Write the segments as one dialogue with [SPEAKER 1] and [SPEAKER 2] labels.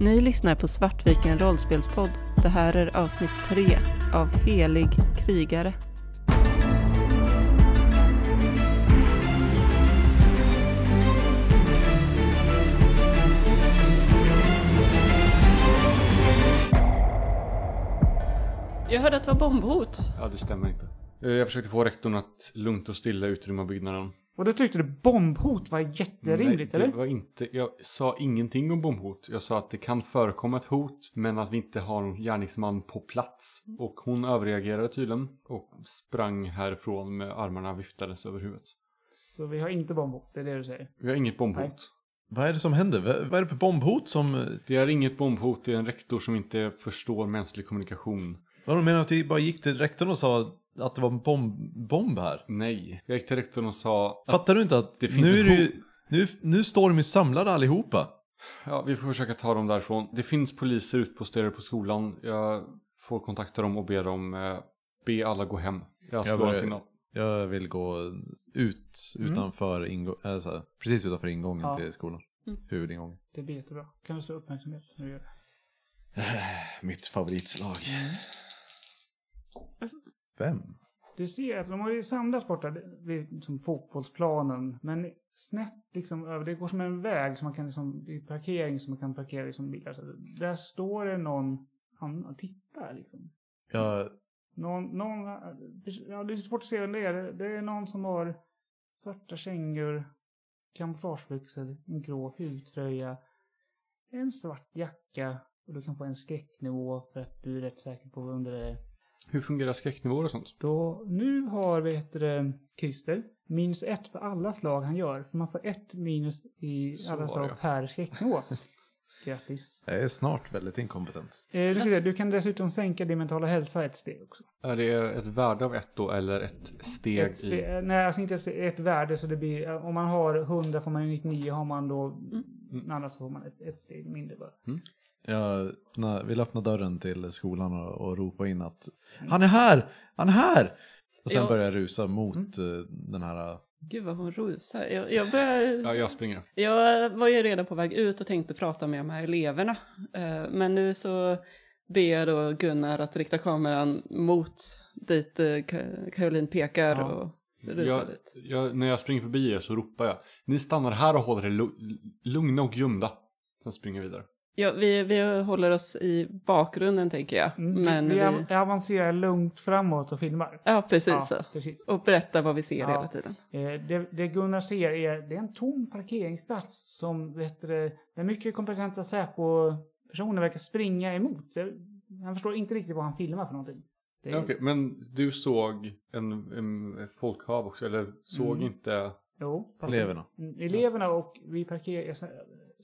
[SPEAKER 1] Ni lyssnar på Svartviken rollspelspodd. Det här är avsnitt 3 av Helig krigare. Jag hörde att det var bombhot.
[SPEAKER 2] Ja, det stämmer inte. Eh, Jag försökte få rektorn att lugnt och stilla utrymma byggnaden.
[SPEAKER 3] Och då tyckte du bombhot var jätterimligt,
[SPEAKER 2] Nej, typ- det
[SPEAKER 3] eller?
[SPEAKER 2] Var inte, jag sa ingenting om bombhot. Jag sa att det kan förekomma ett hot, men att vi inte har en gärningsman på plats. Och hon överreagerade tydligen och sprang härifrån med armarna viftades över huvudet.
[SPEAKER 3] Så vi har inte bombhot, det är det du säger.
[SPEAKER 2] Vi har inget bombhot.
[SPEAKER 3] Nej.
[SPEAKER 4] Vad är det som händer? Vad vad är det för bombhot som...
[SPEAKER 2] Det är inget bombhot, det är en rektor som inte förstår mänsklig kommunikation.
[SPEAKER 4] Vad de menar att vi bara gick till rektorn och sa att det var en bomb, bomb här?
[SPEAKER 2] Nej. Jag gick till rektorn och sa att
[SPEAKER 4] Fattar du inte att
[SPEAKER 2] det finns
[SPEAKER 4] nu,
[SPEAKER 2] ett
[SPEAKER 4] är det ju, nu, nu står de ju samlade allihopa?
[SPEAKER 2] Ja, vi får försöka ta dem därifrån. Det finns poliser utposterade på skolan. Jag får kontakta dem och be dem eh, be alla gå hem. Jag
[SPEAKER 4] Jag
[SPEAKER 2] slår en
[SPEAKER 4] börjar-
[SPEAKER 2] signal.
[SPEAKER 4] Jag vill gå ut utanför ingången, alltså, precis utanför ingången
[SPEAKER 3] Ja.
[SPEAKER 4] till skolan.
[SPEAKER 1] Mm.
[SPEAKER 4] Huvudingången.
[SPEAKER 3] Det blir jättebra. Kan du slå uppmärksamhet när du gör det?
[SPEAKER 4] Mitt favoritslag. Fem.
[SPEAKER 3] Du ser att de har ju samlats borta vid som fotbollsplanen, men snett liksom över, det går som en väg som man kan liksom, det är parkering som man kan parkera liksom bilar. Så där står det någon annan och tittar liksom.
[SPEAKER 4] Jag,
[SPEAKER 3] Någon, någon, ja det är svårt att se vem det är. Det är någon som har svarta kängor, kamouflagebyxor, en grå huvtröja, en svart jacka och du kan få en skräcknivå för att du är rätt säker på vem det är.
[SPEAKER 2] Hur fungerar skräcknivåer och sånt?
[SPEAKER 3] Då, nu har vi heter det, Christer minus ett för alla slag han gör. För man får ett minus i
[SPEAKER 2] Så
[SPEAKER 3] alla
[SPEAKER 2] var
[SPEAKER 3] slag
[SPEAKER 2] det.
[SPEAKER 3] per skräcknivå. Grattis.
[SPEAKER 4] jag är snart väldigt inkompetent.
[SPEAKER 3] Eh, du, ser det, du kan dessutom sänka din mentala hälsa ett steg också.
[SPEAKER 2] Är det ett värde av ett då eller ett steg,
[SPEAKER 3] Ett ste-
[SPEAKER 2] i?
[SPEAKER 3] eh, Nej, alltså inte ett, ste- ett värde. Så det blir, eh, om man har 100 får man ju 99. Har man då Mm. annars så får man ett, ett steg mindre bara.
[SPEAKER 4] Jag öppnar, vill öppna dörren till skolan och, och ropa in att han är här, han är här! Och sen
[SPEAKER 1] Ja.
[SPEAKER 4] börjar jag rusa mot eh, den här...
[SPEAKER 1] Gud vad hon rusar. Jag, jag, börjar,
[SPEAKER 2] Ja, jag springer.
[SPEAKER 1] jag var ju redan på väg ut och tänkte prata med de här eleverna. Eh, Men nu så ber jag då Gunnar att rikta kameran mot dit eh, Ka- Caroline pekar
[SPEAKER 3] Ja.
[SPEAKER 1] och rusar
[SPEAKER 2] Jag,
[SPEAKER 1] dit.
[SPEAKER 2] jag, när jag springer förbi er så ropar jag. Ni stannar här och håller er lu- lugna och gömda. Sen springer jag vidare.
[SPEAKER 1] Ja, vi, vi håller oss i bakgrunden tänker jag.
[SPEAKER 3] Mm.
[SPEAKER 1] Men
[SPEAKER 3] vi,
[SPEAKER 1] vi,
[SPEAKER 3] av- avancerar lugnt framåt och filmar.
[SPEAKER 1] Ja, precis.
[SPEAKER 3] Ja, precis.
[SPEAKER 1] Och berätta vad vi ser
[SPEAKER 3] Ja.
[SPEAKER 1] hela tiden.
[SPEAKER 3] Eh, Det, det Gunnar ser är, det är en tom parkeringsplats som vet du, det, där mycket kompetenta Säpo-personer verkar springa emot. Det- Han förstår inte riktigt vad han filmar för någonting. Det är-
[SPEAKER 2] Ja, okej, Men du såg en, en folkhav också, eller såg
[SPEAKER 3] Mm.
[SPEAKER 2] inte?
[SPEAKER 3] Jo, fast-
[SPEAKER 4] Eleverna.
[SPEAKER 3] Mm, Eleverna och vi parkerar,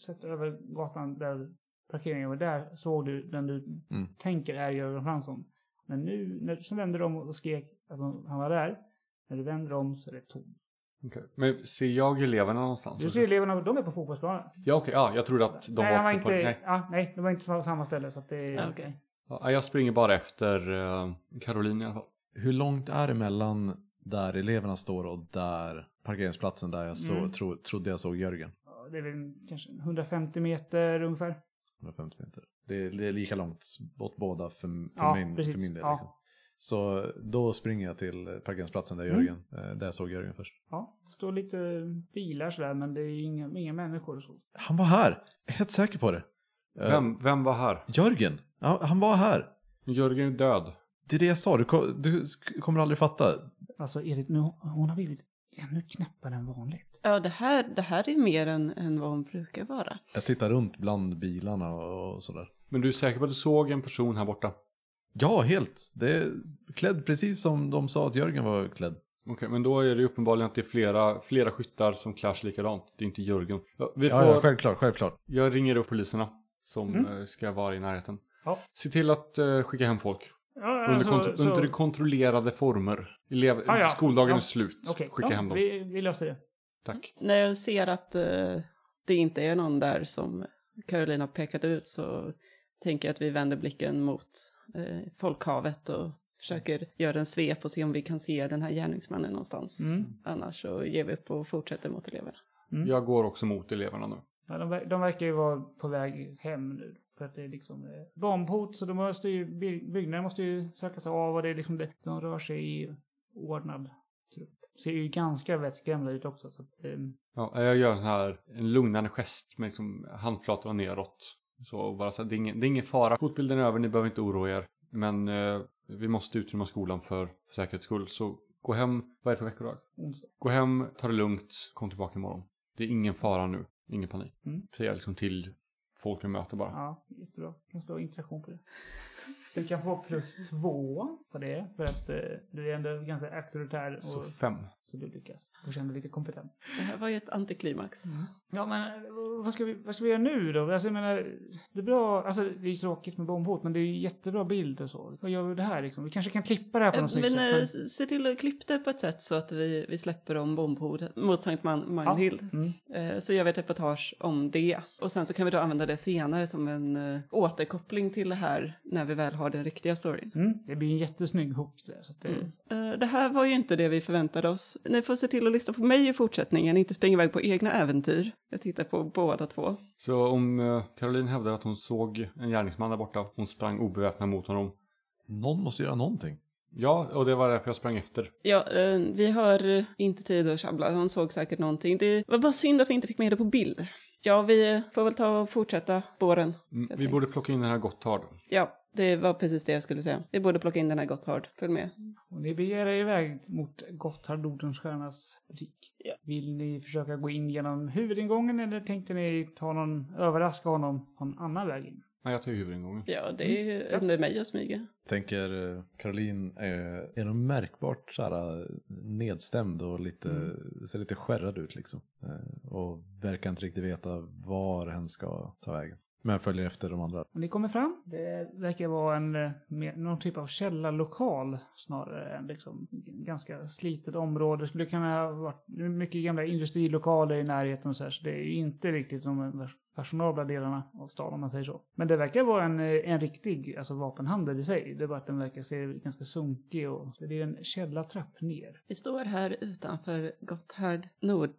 [SPEAKER 3] sett över gatan där parkeringen var, där såg du den du
[SPEAKER 4] Mm.
[SPEAKER 3] tänker är Göran Fransson. Men nu, när, så vände de och skrek att de, han var där. När du vänder om så är det tomt.
[SPEAKER 2] Okej. Men ser jag eleverna någonstans?
[SPEAKER 3] Du ser eleverna, de är på fotbollsplanen.
[SPEAKER 2] Ja, okej. ja, jag trodde att de
[SPEAKER 3] nej,
[SPEAKER 2] var,
[SPEAKER 3] han var
[SPEAKER 2] på-
[SPEAKER 3] inte,
[SPEAKER 2] på... Nej.
[SPEAKER 3] Ja, nej, de var inte på samma ställe så att det...
[SPEAKER 1] Ja, okej.
[SPEAKER 2] Ja, jag springer bara efter eh, Caroline i alla fall.
[SPEAKER 4] Hur långt är det mellan där eleverna står och där parkeringsplatsen där jag så,
[SPEAKER 3] Mm.
[SPEAKER 4] tro, trodde jag såg Jörgen?
[SPEAKER 3] Ja, det är väl kanske 150 meter ungefär.
[SPEAKER 4] 150 meter. Det är, det är lika långt åt båda för, för,
[SPEAKER 3] Ja,
[SPEAKER 4] min, för
[SPEAKER 3] precis.
[SPEAKER 4] min del.
[SPEAKER 3] Ja.
[SPEAKER 4] Liksom. Så då springer jag till parkeringsplatsen där
[SPEAKER 3] Mm.
[SPEAKER 4] Jörgen, eh, där jag såg Jörgen först.
[SPEAKER 3] Ja, det står lite bilar sådär men det är ju inga, inga människor och så.
[SPEAKER 4] Han var här! Jag är helt säker på det. Eh,
[SPEAKER 2] Vem, vem var här?
[SPEAKER 4] Jörgen! Ja, han var här!
[SPEAKER 2] Jörgen är död.
[SPEAKER 4] Det är det jag sa, du, ko- du sk- kommer aldrig fatta.
[SPEAKER 3] Alltså Edith, nu, hon har blivit ännu knäppare än vanligt.
[SPEAKER 1] Ja, det här, det här är mer än, än vad hon brukar vara.
[SPEAKER 4] Jag tittar runt bland bilarna och, och sådär.
[SPEAKER 2] Men du är säker på att du såg en person här borta?
[SPEAKER 4] Ja, helt. Det är klädd precis som de sa att Jörgen var klädd.
[SPEAKER 2] Okej, men då är det ju uppenbarligen att det är flera, flera skyttar som klär sig likadant. Det är inte Jörgen. Ja, vi får,
[SPEAKER 4] Ja, ja, självklart, självklart.
[SPEAKER 2] Jag ringer upp poliserna som
[SPEAKER 3] Mm.
[SPEAKER 2] eh, ska vara i närheten.
[SPEAKER 3] Ja.
[SPEAKER 2] Se till att eh, skicka hem folk.
[SPEAKER 3] Ja, alltså,
[SPEAKER 2] Under, kont- under kontrollerade former. Elev-
[SPEAKER 3] Ah, ja.
[SPEAKER 2] Skoldagen
[SPEAKER 3] Ja.
[SPEAKER 2] är slut.
[SPEAKER 3] Okej,
[SPEAKER 2] Skicka
[SPEAKER 3] ja,
[SPEAKER 2] hem dem.
[SPEAKER 3] Vi, vi löser det.
[SPEAKER 2] Tack.
[SPEAKER 1] När jag ser att eh, det inte är någon där som Caroline har pekat ut så tänker jag att vi vänder blicken mot eh, folkhavet och försöker göra en svep och se om vi kan se den här gärningsmannen någonstans.
[SPEAKER 3] Mm.
[SPEAKER 1] Annars så ger vi upp och fortsätter mot eleverna.
[SPEAKER 3] Mm.
[SPEAKER 2] Jag går också mot eleverna nu.
[SPEAKER 3] Ja, de, ver- de verkar ju vara på väg hem nu. För att det är liksom eh, bombhot så de måste ju, by- byggnader måste ju söka sig av och det är liksom det, de rör sig i ordnad trupp. Ser ju ganska vettskrämda ut också. Så att, eh,
[SPEAKER 2] Ja, jag gör en sån här en lugnande gest med liksom handflatorna neråt. Så och bara så här, det, är ingen, det är ingen fara. Hotbilden är över, ni behöver inte oroa er. Men eh, vi måste utrymma skolan för, för säkerhets skull. Så gå hem, vad är det för veckodag?
[SPEAKER 3] onsdag.
[SPEAKER 2] Gå hem, ta det lugnt, kom tillbaka imorgon. Det är ingen fara nu, ingen panik.
[SPEAKER 3] Mm.
[SPEAKER 2] Säger jag liksom till folk jag möter bara.
[SPEAKER 3] Ja, jättebra. Kan slå interaktion på det. Du kan få plus två på det för att eh, du är ändå ganska auktoritär och
[SPEAKER 2] Så
[SPEAKER 3] så,
[SPEAKER 2] fem.
[SPEAKER 3] du lyckas. Du känner dig lite kompetent.
[SPEAKER 1] Det här var ju ett antiklimax.
[SPEAKER 3] Ja, men eh, vad ska vi, vad ska vi göra nu då? Alltså, jag menar, det är bra, alltså det är tråkigt med bombhot, men det är ju jättebra bild och så. Vad gör vi det här liksom? Vi kanske kan klippa det här på något
[SPEAKER 1] Eh,
[SPEAKER 3] snyggt
[SPEAKER 1] Men eh,
[SPEAKER 3] sätt.
[SPEAKER 1] s- se till att klippa det på ett sätt så att vi, vi släpper om bombhotet mot Sankt Man- Magnhild.
[SPEAKER 3] men- Mm.
[SPEAKER 1] Eh, Så gör vi ett reportage om det. Och sen så kan vi då använda det senare som en eh, återkoppling till det här när vi väl har den riktiga storyn.
[SPEAKER 3] Mm. Det blir en jättesnygg hook där. Så att det,
[SPEAKER 1] Eh, Det här var ju inte det vi förväntade oss. Ni får se till att lyssna på mig i fortsättningen, inte springa iväg på egna äventyr. Jag tittar på båda två.
[SPEAKER 2] Så om eh, Caroline hävdar att hon såg en gärningsman där borta, hon sprang obeväpnad mot honom.
[SPEAKER 4] Någon måste göra någonting. Ja,
[SPEAKER 2] Ja, och det var därför jag sprang efter. Mm,
[SPEAKER 1] Ja, eh, vi har eh, inte tid att tjabbla, hon såg säkert någonting. Det var bara synd att vi inte fick med det på bild. Ja, vi eh, får väl ta och fortsätta spåren.
[SPEAKER 2] Mm,
[SPEAKER 1] Jag
[SPEAKER 2] Vi
[SPEAKER 1] tänkte-
[SPEAKER 2] borde plocka in den här Gotthard.
[SPEAKER 1] Ja, det var precis det jag skulle säga. Vi borde plocka in den här Gotthard, följ med.
[SPEAKER 3] och ni beger er iväg mot Gotthard Nordenstiernas butik. Vill ni försöka gå in genom huvudingången eller tänkte ni ta någon, överraska honom på en annan väg in?
[SPEAKER 2] Nej, jag tar ju huvudingången.
[SPEAKER 1] Ja, det är ju under mig att smyga.
[SPEAKER 4] Tänker eh, Caroline, Eh, är, är hon märkbart så här, eh, nedstämd och lite, ser lite skärrad ut liksom. Eh, Och verkar inte riktigt veta var hen ska ta vägen. Men följer efter de andra.
[SPEAKER 3] Och ni kommer fram. Det verkar vara en, eh, mer- någon typ av källarlokal snarare än liksom ganska slitet område. Skulle kunna ha varit mycket gamla industrilokaler i närheten och så här. Så det är ju inte riktigt de vers- fashionabla delarna av stan om man säger så. Men det verkar vara en, eh, en riktig alltså vapenhandel i sig. Det är bara att den verkar se ganska sunkig och så det är en källartrapp ner.
[SPEAKER 1] Vi står här utanför Gotthard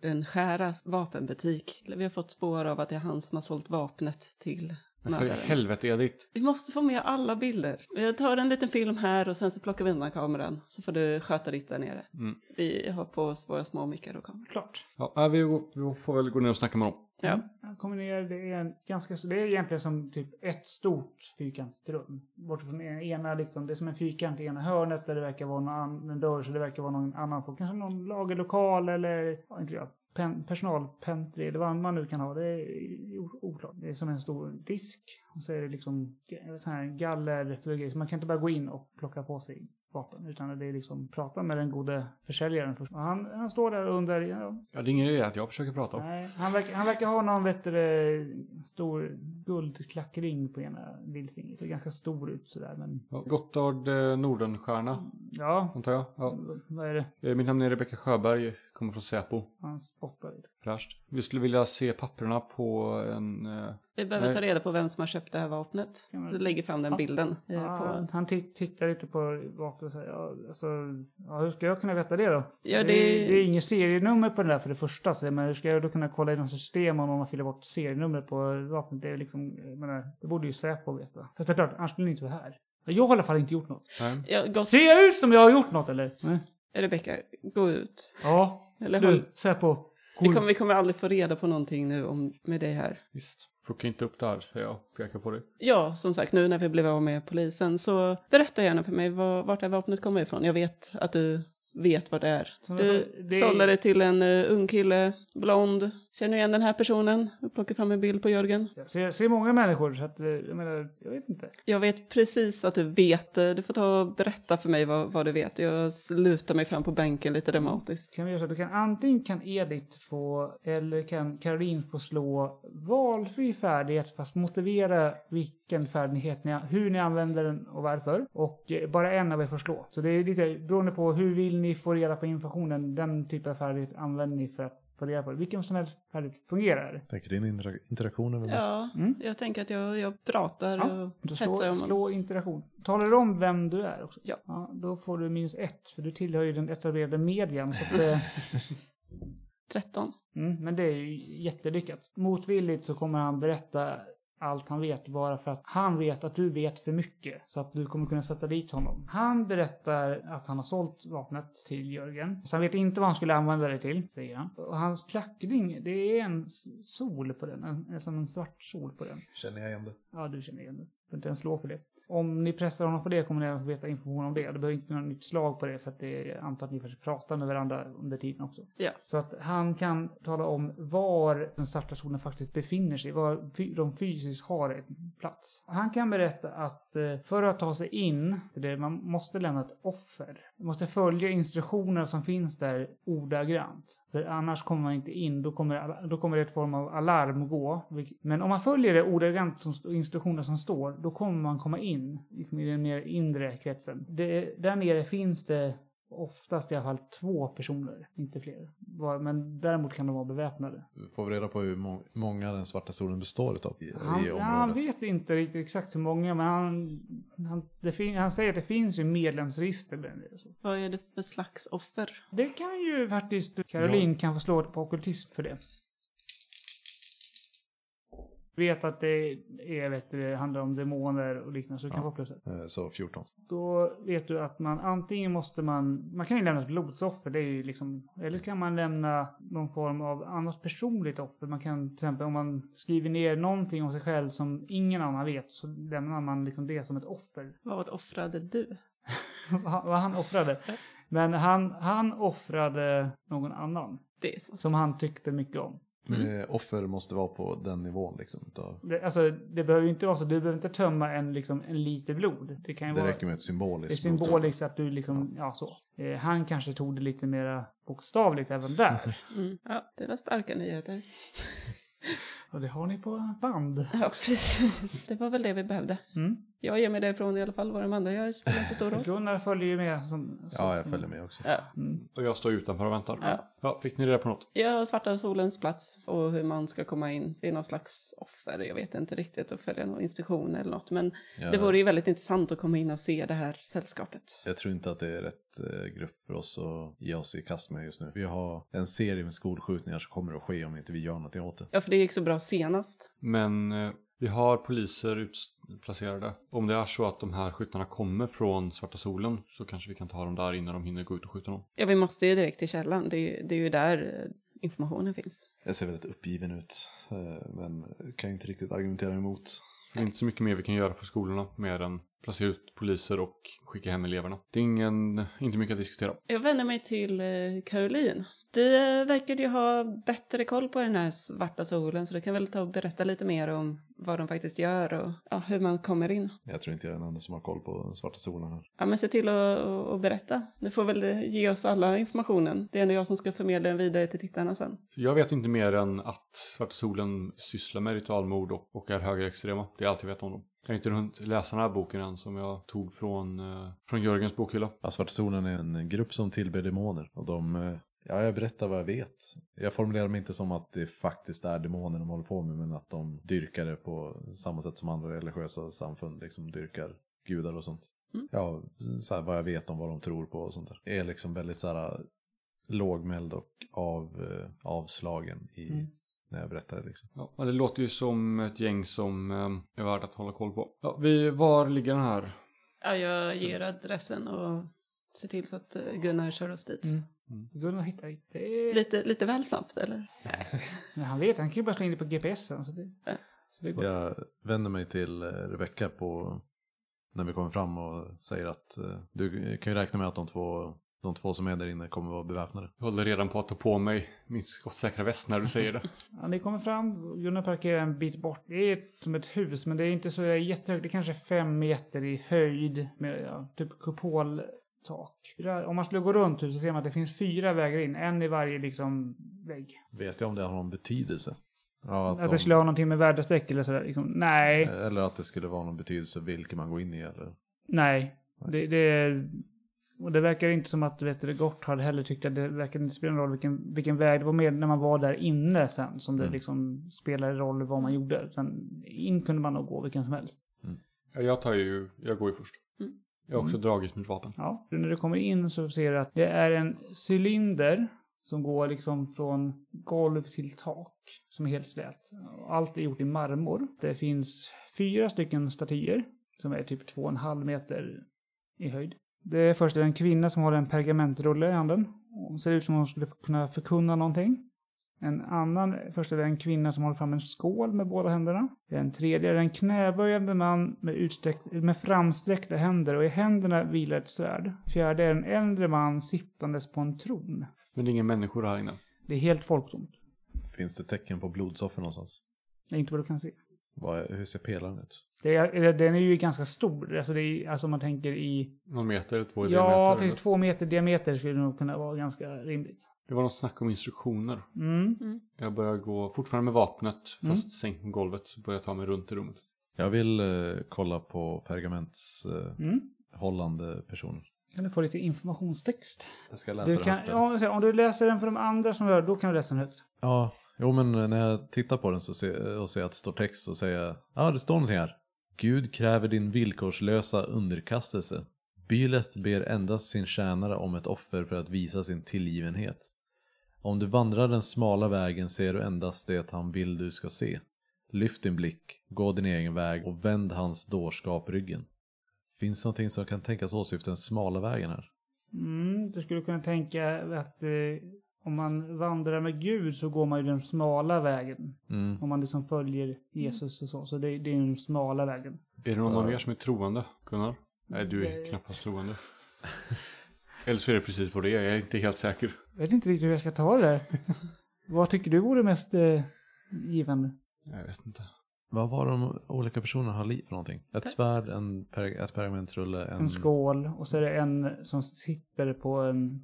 [SPEAKER 1] Nordenskäras vapenbutik. Vi har fått spår av att det är han som har sålt vapnet till
[SPEAKER 2] Men för i
[SPEAKER 1] mördaren.
[SPEAKER 2] helvete Edith.
[SPEAKER 1] Vi måste få med alla bilder. Jag tar en liten film här och sen så plockar vi undan kameran. Så får du sköta ditt där nere.
[SPEAKER 2] Mm.
[SPEAKER 1] Vi har på oss våra små mickar och kameror.
[SPEAKER 3] Klart.
[SPEAKER 2] Ja, nej, vi, går- vi får väl gå ner och snacka med dem.
[SPEAKER 1] Ja.
[SPEAKER 3] Jag kommer ner, det är en ganska stor, det är egentligen som typ ett stort fyrkantigt rum. Bortsett från en- ena liksom, det är som en fyrkant i ena hörnet där det verkar vara någon annan, en dörr så det verkar vara någon annan folk. Kanske någon lagerlokal eller, ja, inte jag, pen, personalpentry eller vad man nu kan ha. Det är o- oklart. Det är som en stor disk. Och så är det liksom ga- sån här galler, så grejer. Så man kan inte bara gå in och plocka på sig vapen. Utan det är liksom prata med den gode försäljaren först. Och han, han står där och undrar, ja,
[SPEAKER 2] Ja, det är ingen idé att jag försöker prata om.
[SPEAKER 3] Nej, han, verkar, han verkar ha någon vet du, det, stor guldklackring på ena lillfingret. Det är ganska stor ut sådär. Men
[SPEAKER 2] Ja, Gotthard eh, Nordenstierna,
[SPEAKER 3] ja,
[SPEAKER 2] antar jag. Ja.
[SPEAKER 3] vad är det?
[SPEAKER 2] Eh, Mitt namn är Rebecka Sjöberg, kommer från Säpo.
[SPEAKER 3] Han spottar ut.
[SPEAKER 2] Fräscht. Vi skulle vilja se papperna på en... eh,
[SPEAKER 1] Vi behöver
[SPEAKER 2] Nej.
[SPEAKER 1] ta reda på vem som har köpt det här vapnet.
[SPEAKER 3] Kan man- Ah.
[SPEAKER 1] Du lägger fram den
[SPEAKER 3] Ja.
[SPEAKER 1] bilden. eh,
[SPEAKER 3] Ja,
[SPEAKER 1] På...
[SPEAKER 3] han ti- tittar lite på vapnet och säger, ja, alltså, ja, hur ska jag kunna veta det då?
[SPEAKER 1] Ja,
[SPEAKER 3] det... är-
[SPEAKER 1] det-
[SPEAKER 3] det är inget serienummer på den där för det första, så, men hur ska jag då kunna kolla i något system om någon har fyllt bort serienumret på vapnet? Det, är liksom, jag menar, det borde ju Säpo veta. Fast det är klart, annars skulle ni inte vara här. Jag har i alla fall inte gjort något.
[SPEAKER 2] nej.
[SPEAKER 1] Ja, gott.
[SPEAKER 3] Ser jag ut som jag har gjort något eller? Nej.
[SPEAKER 1] Rebecka, gå ut.
[SPEAKER 3] Ja,
[SPEAKER 1] Eller håll...
[SPEAKER 3] Du, Säpo.
[SPEAKER 1] vi, kommer, vi kommer aldrig få reda på någonting nu om, med dig här.
[SPEAKER 2] Visst. Fucka inte upp där, säger jag. Pekar på dig.
[SPEAKER 1] Ja, som sagt, nu när vi blev av med polisen så berätta gärna för mig var, vart det här vapnet kommer ifrån. Jag vet att du vet vad det är.
[SPEAKER 3] Som jag
[SPEAKER 1] du
[SPEAKER 3] sa, det är-
[SPEAKER 1] sålde det till en eh, ung kille, blond. Känner du igen den här personen? Jag plockar fram en bild på Jörgen.
[SPEAKER 3] Jag ser, ser många människor så att, eh, jag menar, jag vet inte.
[SPEAKER 1] Jag vet precis att du vet. eh, Du får ta och berätta för mig vad, vad du vet. Jag lutar mig fram på bänken lite dramatiskt.
[SPEAKER 3] Kan vi göra så att du kan antingen kan Edith få eller kan Caroline få slå valfri färdighet fast motivera vilken färdighet ni, hur ni använder den och varför. Och eh, bara en av er får slå. Så det är lite beroende på hur vill ni få reda på informationen. Den typen av färdighet använder ni för att få reda på det. Vilken som helst färdighet fungerar.
[SPEAKER 4] Tänker din intera- interaktion är väl
[SPEAKER 1] Ja,
[SPEAKER 4] mest...
[SPEAKER 3] Mm.
[SPEAKER 1] jag tänker att jag, jag pratar
[SPEAKER 3] Ja,
[SPEAKER 1] och
[SPEAKER 3] Då
[SPEAKER 1] hetsar
[SPEAKER 3] slå,
[SPEAKER 1] om honom.
[SPEAKER 3] slå interaktion. Talar du om vem du är också?
[SPEAKER 1] Ja.
[SPEAKER 3] Då får du minus ett, för du tillhör ju den etablerade medien. Så att, eh,
[SPEAKER 1] 13.
[SPEAKER 3] Mm, men det är ju jättelyckat. Motvilligt så kommer han berätta allt han vet bara för att han vet att du vet för mycket så att du kommer kunna sätta dit honom. Han berättar att han har sålt vapnet till Jörgen. Så han vet inte vad han skulle använda det till, säger han. Och hans klackring, det är en s- sol på den, en, en- som en svart sol på den.
[SPEAKER 4] Känner jag igen det?
[SPEAKER 3] Ja, du känner igen det. Du behöver inte ens slå för det. Om ni pressar honom på det kommer ni även få veta information om det. Det behöver inte något nytt slag på det för att det är, jag antar att ni kanske pratar med varandra under tiden också.
[SPEAKER 1] Ja.
[SPEAKER 3] Så att han kan tala om var den svarta solen faktiskt befinner sig, var fy- de fysiskt har en plats. Han kan berätta att eh, för att ta sig in, för det, man måste lämna ett offer. Man måste följa instruktioner som finns där ordagrant. För annars kommer man inte in, då kommer, alla- då kommer det ett form av alarm gå. vilk- Men om man följer det ordagrant som st- instruktioner som står, då kommer man komma in liksom i den mer inre kretsen. Det, där nere finns det oftast i alla fall två personer, inte fler. Var- Men däremot kan de vara beväpnade.
[SPEAKER 4] Får vi reda på hur må- många den svarta solen består utav i,
[SPEAKER 3] Han,
[SPEAKER 4] i
[SPEAKER 3] ja,
[SPEAKER 4] området?
[SPEAKER 3] han vet inte riktigt exakt hur många, men han, han, det fin, han säger att det finns ju medlemsregister. bland det och så.
[SPEAKER 1] Vad är det för slags offer?
[SPEAKER 3] Det kan ju faktiskt Caroline kan få slå på okultism för det. Vet att det är, vet du, det handlar om demoner och liknande, så du kan
[SPEAKER 4] Ja.
[SPEAKER 3] få plus ett.
[SPEAKER 4] Eh, Så 14.
[SPEAKER 3] Då vet du att man antingen måste man, man kan ju lämna ett blodsoffer, det är ju liksom, eller kan man lämna någon form av annat personligt offer. Man kan till exempel om man skriver ner någonting om sig själv som ingen annan vet så lämnar man liksom det som ett offer.
[SPEAKER 1] Vad offrade du?
[SPEAKER 3] Vad vad han offrade. Men han, han offrade någon annan
[SPEAKER 1] Det är så.
[SPEAKER 3] som han tyckte mycket om.
[SPEAKER 4] Men eh, offer måste vara på den nivån liksom. Utav,
[SPEAKER 3] Det, alltså, det behöver ju inte vara så, du behöver inte tömma en, liksom, en liter blod. Det kan ju
[SPEAKER 4] det
[SPEAKER 3] vara...
[SPEAKER 4] räcker med ett
[SPEAKER 3] Det är
[SPEAKER 4] symboliskt motstånd.
[SPEAKER 3] symboliskt att du liksom, ja, så. Eh, han kanske tog det lite mer bokstavligt även där.
[SPEAKER 1] Mm. Ja, det var starka nyheter.
[SPEAKER 3] Och det har ni på band.
[SPEAKER 1] Ja, precis. Det var väl det vi behövde.
[SPEAKER 3] Mm.
[SPEAKER 1] Jag ger mig därifrån i alla fall. Vad de andra gör spelar inte så stor roll.
[SPEAKER 3] Gunnar följer ju med. Som, så,
[SPEAKER 4] Ja, jag
[SPEAKER 3] som-
[SPEAKER 4] följer med också.
[SPEAKER 1] Ja.
[SPEAKER 3] Mm.
[SPEAKER 2] Och jag står utanför och väntar.
[SPEAKER 1] Ja.
[SPEAKER 2] fick ni reda på något?
[SPEAKER 1] Jag har svarta solens plats och hur man ska komma in. Det är någon slags offer. Jag vet inte riktigt och följa någon instruktion eller något. Men
[SPEAKER 4] Jag,
[SPEAKER 1] det vore ju väldigt intressant att komma in och se det här sällskapet.
[SPEAKER 4] jag tror inte att det är rätt eh, grupp för oss att ge oss i kast med just nu. Vi har en serie med skolskjutningar som kommer att ske om inte vi gör någonting åt det.
[SPEAKER 1] Ja, för det gick så bra senast.
[SPEAKER 2] Men eh, vi har poliser utplacerade. Om det är så att de här skjutarna kommer från Svarta Solen så kanske vi kan ta dem där innan de hinner gå ut och skjuta dem.
[SPEAKER 1] Ja, vi måste ju direkt till källan. Det är ju, det är ju där eh, informationen finns.
[SPEAKER 4] Jag ser väldigt uppgiven ut, eh, men kan ju inte riktigt argumentera emot.
[SPEAKER 2] För det är inte så mycket mer vi kan göra på skolorna mer än placera ut poliser och skicka hem eleverna. Det är ingen, inte mycket att diskutera.
[SPEAKER 1] Jag vänder mig till eh, Caroline. Du eh, verkade ju ha bättre koll på den här svarta solen så du kan väl ta och berätta lite mer om vad de faktiskt gör och ja, hur man kommer in.
[SPEAKER 4] Jag tror inte jag är den enda som har koll på den svarta solen här.
[SPEAKER 1] Ja, men se till att att berätta. Du får väl eh, ge oss alla informationen. Det är ändå jag som ska förmedla den vidare till tittarna sen.
[SPEAKER 2] Så jag vet inte mer än att Svarta Solen sysslar med ritualmord och, och är högerextrema. Det är allt jag vet om dem. Jag har inte hunnit läsa den här boken än som jag tog från, eh, från Jörgens bokhylla.
[SPEAKER 4] Ja, Svarta Solen är en grupp som tillber demoner. Och de, eh, ja, jag berättar vad jag vet. Jag formulerar mig inte som att det faktiskt är demoner de håller på med, men att de dyrkar det på samma sätt som andra religiösa samfund liksom dyrkar gudar och sånt.
[SPEAKER 1] Mm.
[SPEAKER 4] Ja, så här, vad jag vet om vad de tror på och sånt där. Är liksom väldigt så här lågmäld och av, eh, avslagen i,
[SPEAKER 3] Mm.
[SPEAKER 4] när jag berättar det liksom.
[SPEAKER 2] Ja, men det låter ju som ett gäng som eh, är värt att hålla koll på. Ja, vi, var ligger den här?
[SPEAKER 1] Ja, jag ger adressen och ser till så att eh, Gunnar kör oss dit.
[SPEAKER 3] Mm.
[SPEAKER 2] Mm.
[SPEAKER 3] Gunnar hittar inte. det.
[SPEAKER 1] Lite, lite väl snabbt, eller?
[SPEAKER 3] Men han vet, han kan ju bara slå in det på GPSen. Så det,
[SPEAKER 1] Ja.
[SPEAKER 3] så det går.
[SPEAKER 4] Jag vänder mig till eh, Rebecka på när vi kommer fram och säger att eh, du kan ju räkna med att de två, de två som är där inne kommer vara beväpnade.
[SPEAKER 2] Jag håller redan på att ta på mig min skottsäkra väst när du säger det.
[SPEAKER 3] Ja, ni kommer fram, Gunnar parkerar en bit bort. Det är som ett hus, men det är inte så jättehögt. Det är kanske fem meter i höjd med ja, typ kupoltak. Fyra- Om man skulle gå runt huset så ser man att det finns fyra vägar in, en i varje liksom vägg.
[SPEAKER 4] Vet jag om det har någon betydelse? Ja, att
[SPEAKER 3] Att
[SPEAKER 4] de,
[SPEAKER 3] det skulle ha någonting med väderstreck eller sådär. Liksom, nej,
[SPEAKER 4] Eller att det skulle vara någon betydelse vilken man går in i eller?
[SPEAKER 3] nej. Det, det, och det verkar inte som att vet du, Gort hade heller tyckt att det verkar inte spela någon roll vilken, vilken väg. Det var mer när man var där inne sen som det
[SPEAKER 4] Mm.
[SPEAKER 3] liksom spelade roll vad man gjorde. Sen in kunde man nog gå vilken som helst.
[SPEAKER 2] Ja, Jag tar ju, jag går ju först.
[SPEAKER 1] Mm.
[SPEAKER 2] Jag har också dragit mitt vapen.
[SPEAKER 3] Ja, när du kommer in så ser du att det är en cylinder som går liksom från golv till tak som är helt slät. Allt är gjort i marmor. Det finns fyra stycken statyer som är typ två och en halv meter i höjd. Det är först en kvinna som har en pergamentrulle i handen. Hon ser ut som om hon skulle kunna förkunna någonting. En annan, först är det en kvinna som håller fram en skål med båda händerna. Den tredje är en knäböjande man med, utsträck- med framsträckta händer och i händerna vilar ett svärd. Fjärde är en äldre man sittandes på en tron.
[SPEAKER 2] Men det är inga människor här inne.
[SPEAKER 3] Det är helt folktomt.
[SPEAKER 4] Finns det tecken på blodsoffer någonstans?
[SPEAKER 3] Det är inte vad du kan se.
[SPEAKER 4] Vad, hur ser pelaren ut?
[SPEAKER 3] Det är, eller den är ju ganska stor, alltså, det är, alltså om man tänker i...
[SPEAKER 2] Någon meter eller två i
[SPEAKER 3] Ja,
[SPEAKER 2] diameter,
[SPEAKER 3] precis.
[SPEAKER 2] eller?
[SPEAKER 3] Två meter diameter skulle nog kunna vara ganska rimligt.
[SPEAKER 2] Det var något snack om instruktioner.
[SPEAKER 3] Mm.
[SPEAKER 2] Jag börjar gå, fortfarande med vapnet, fast sänkt på golvet, så börjar jag ta mig runt i rummet.
[SPEAKER 4] Jag vill eh, kolla på pergaments eh,
[SPEAKER 3] Mm.
[SPEAKER 4] hållande personer.
[SPEAKER 3] Kan du få lite informationstext?
[SPEAKER 4] Jag ska läsa
[SPEAKER 3] Du
[SPEAKER 4] det
[SPEAKER 3] kan,
[SPEAKER 4] högt där.
[SPEAKER 3] ja, så om du läser den för de andra som rör, då kan du läsa den högt.
[SPEAKER 4] Ja, jo men när jag tittar på den så ser, och ser att det står text så säger jag, ja det står någonting här. Gud kräver din villkorslösa underkastelse. Bylet ber endast sin tjänare om ett offer för att visa sin tillgivenhet. Om du vandrar den smala vägen ser du endast det han vill du ska se. Lyft din blick, gå din egen väg och vänd hans dårskap ryggen. Finns det någonting som kan tänkas åsyfta den smala vägen här?
[SPEAKER 3] Mm, du skulle kunna tänka att eh, om man vandrar med Gud så går man ju den smala vägen.
[SPEAKER 4] Mm.
[SPEAKER 3] Om man liksom följer Jesus och så. Så det, det är ju den smala vägen.
[SPEAKER 2] Är det någon av er som är troende, Gunnar? Nej, du är
[SPEAKER 3] Nej.
[SPEAKER 2] knappast troende. Eller så är det precis vad det är, jag är inte helt säker.
[SPEAKER 3] Jag vet inte riktigt hur jag ska ta det där. Vad tycker du vore mest eh, givande?
[SPEAKER 2] Jag vet inte.
[SPEAKER 4] Vad var de olika personerna har liv för någonting? Ett svärd, en per, ett pergamentrulle, en...
[SPEAKER 3] En skål och så är det en som sitter på en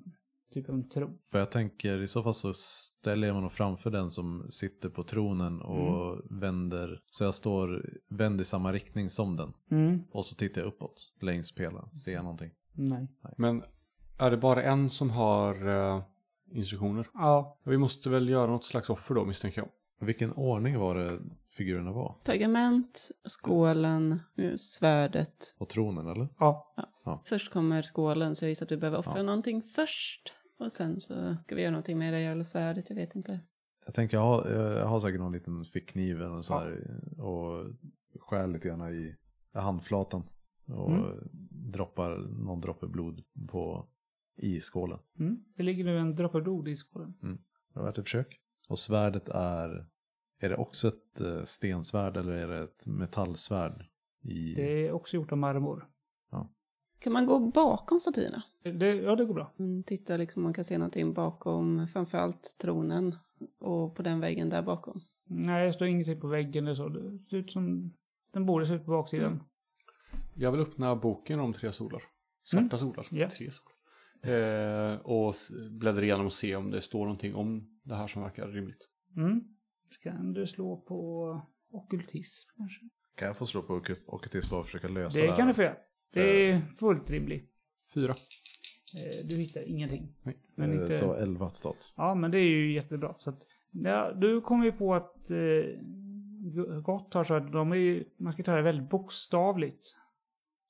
[SPEAKER 3] typ en tro.
[SPEAKER 4] För jag tänker i så fall så ställer jag mig nog framför den som sitter på tronen och vänder. Så jag står vänd i samma riktning som den.
[SPEAKER 3] Mm,
[SPEAKER 4] Och så tittar jag uppåt längs pelaren. Ser jag någonting?
[SPEAKER 3] nej.
[SPEAKER 2] Men är det bara en som har eh, instruktioner?
[SPEAKER 3] Ja,
[SPEAKER 2] Vi måste väl göra något slags offer då, misstänker jag.
[SPEAKER 4] Vilken ordning var det figurerna var?
[SPEAKER 1] Pergament, skålen, eh, svärdet.
[SPEAKER 4] På tronen eller?
[SPEAKER 3] ja.
[SPEAKER 1] Först kommer skålen så jag gissar att vi behöver offra
[SPEAKER 4] Ja.
[SPEAKER 1] någonting först. Och sen så ska vi göra någonting med det jävla svärdet, jag vet inte.
[SPEAKER 4] Jag tänker jag har, jag har säkert någon liten fickkniv eller så här. Och skär lite grann i handflatan. Och
[SPEAKER 3] Mm.
[SPEAKER 4] droppar någon droppe blod på, i skålen.
[SPEAKER 3] Mm. Det ligger nu en droppe blod i skålen.
[SPEAKER 4] Det har varit ett försök. Och svärdet är... Är det också ett eh, stensvärd eller är det ett metallsvärd? I...
[SPEAKER 3] Det är också gjort av marmor.
[SPEAKER 1] Kan man gå bakom statyerna?
[SPEAKER 3] Det, ja, det går bra.
[SPEAKER 1] Mm, Titta liksom, man kan se någonting bakom, framförallt tronen och på den väggen där bakom.
[SPEAKER 3] Nej, det står ingenting på väggen eller så. Det ser ut som... Den borde se ut på baksidan.
[SPEAKER 2] Jag vill öppna boken om tre solar. Svarta solar.
[SPEAKER 3] Mm. Ja.
[SPEAKER 2] Tre solar. Eh, och s- bläddra igenom och se om det står någonting om det här som verkar rimligt.
[SPEAKER 3] Mm. Kan du slå på ockultism kanske?
[SPEAKER 4] Kan jag få slå på Oku- Okutis bara och försöka lösa det,
[SPEAKER 3] Det
[SPEAKER 4] här?
[SPEAKER 3] kan du få göra. Det är fullt rimligt.
[SPEAKER 2] Fyra.
[SPEAKER 3] Eh, Du hittar ingenting.
[SPEAKER 2] Nej.
[SPEAKER 3] Men
[SPEAKER 4] Eh,
[SPEAKER 3] inte...
[SPEAKER 4] Så 11 totalt.
[SPEAKER 3] Ja, men det är ju jättebra. Så att, ja, du kom ju på att eh, Gott har så att de är ju, man ska ta det väldigt bokstavligt.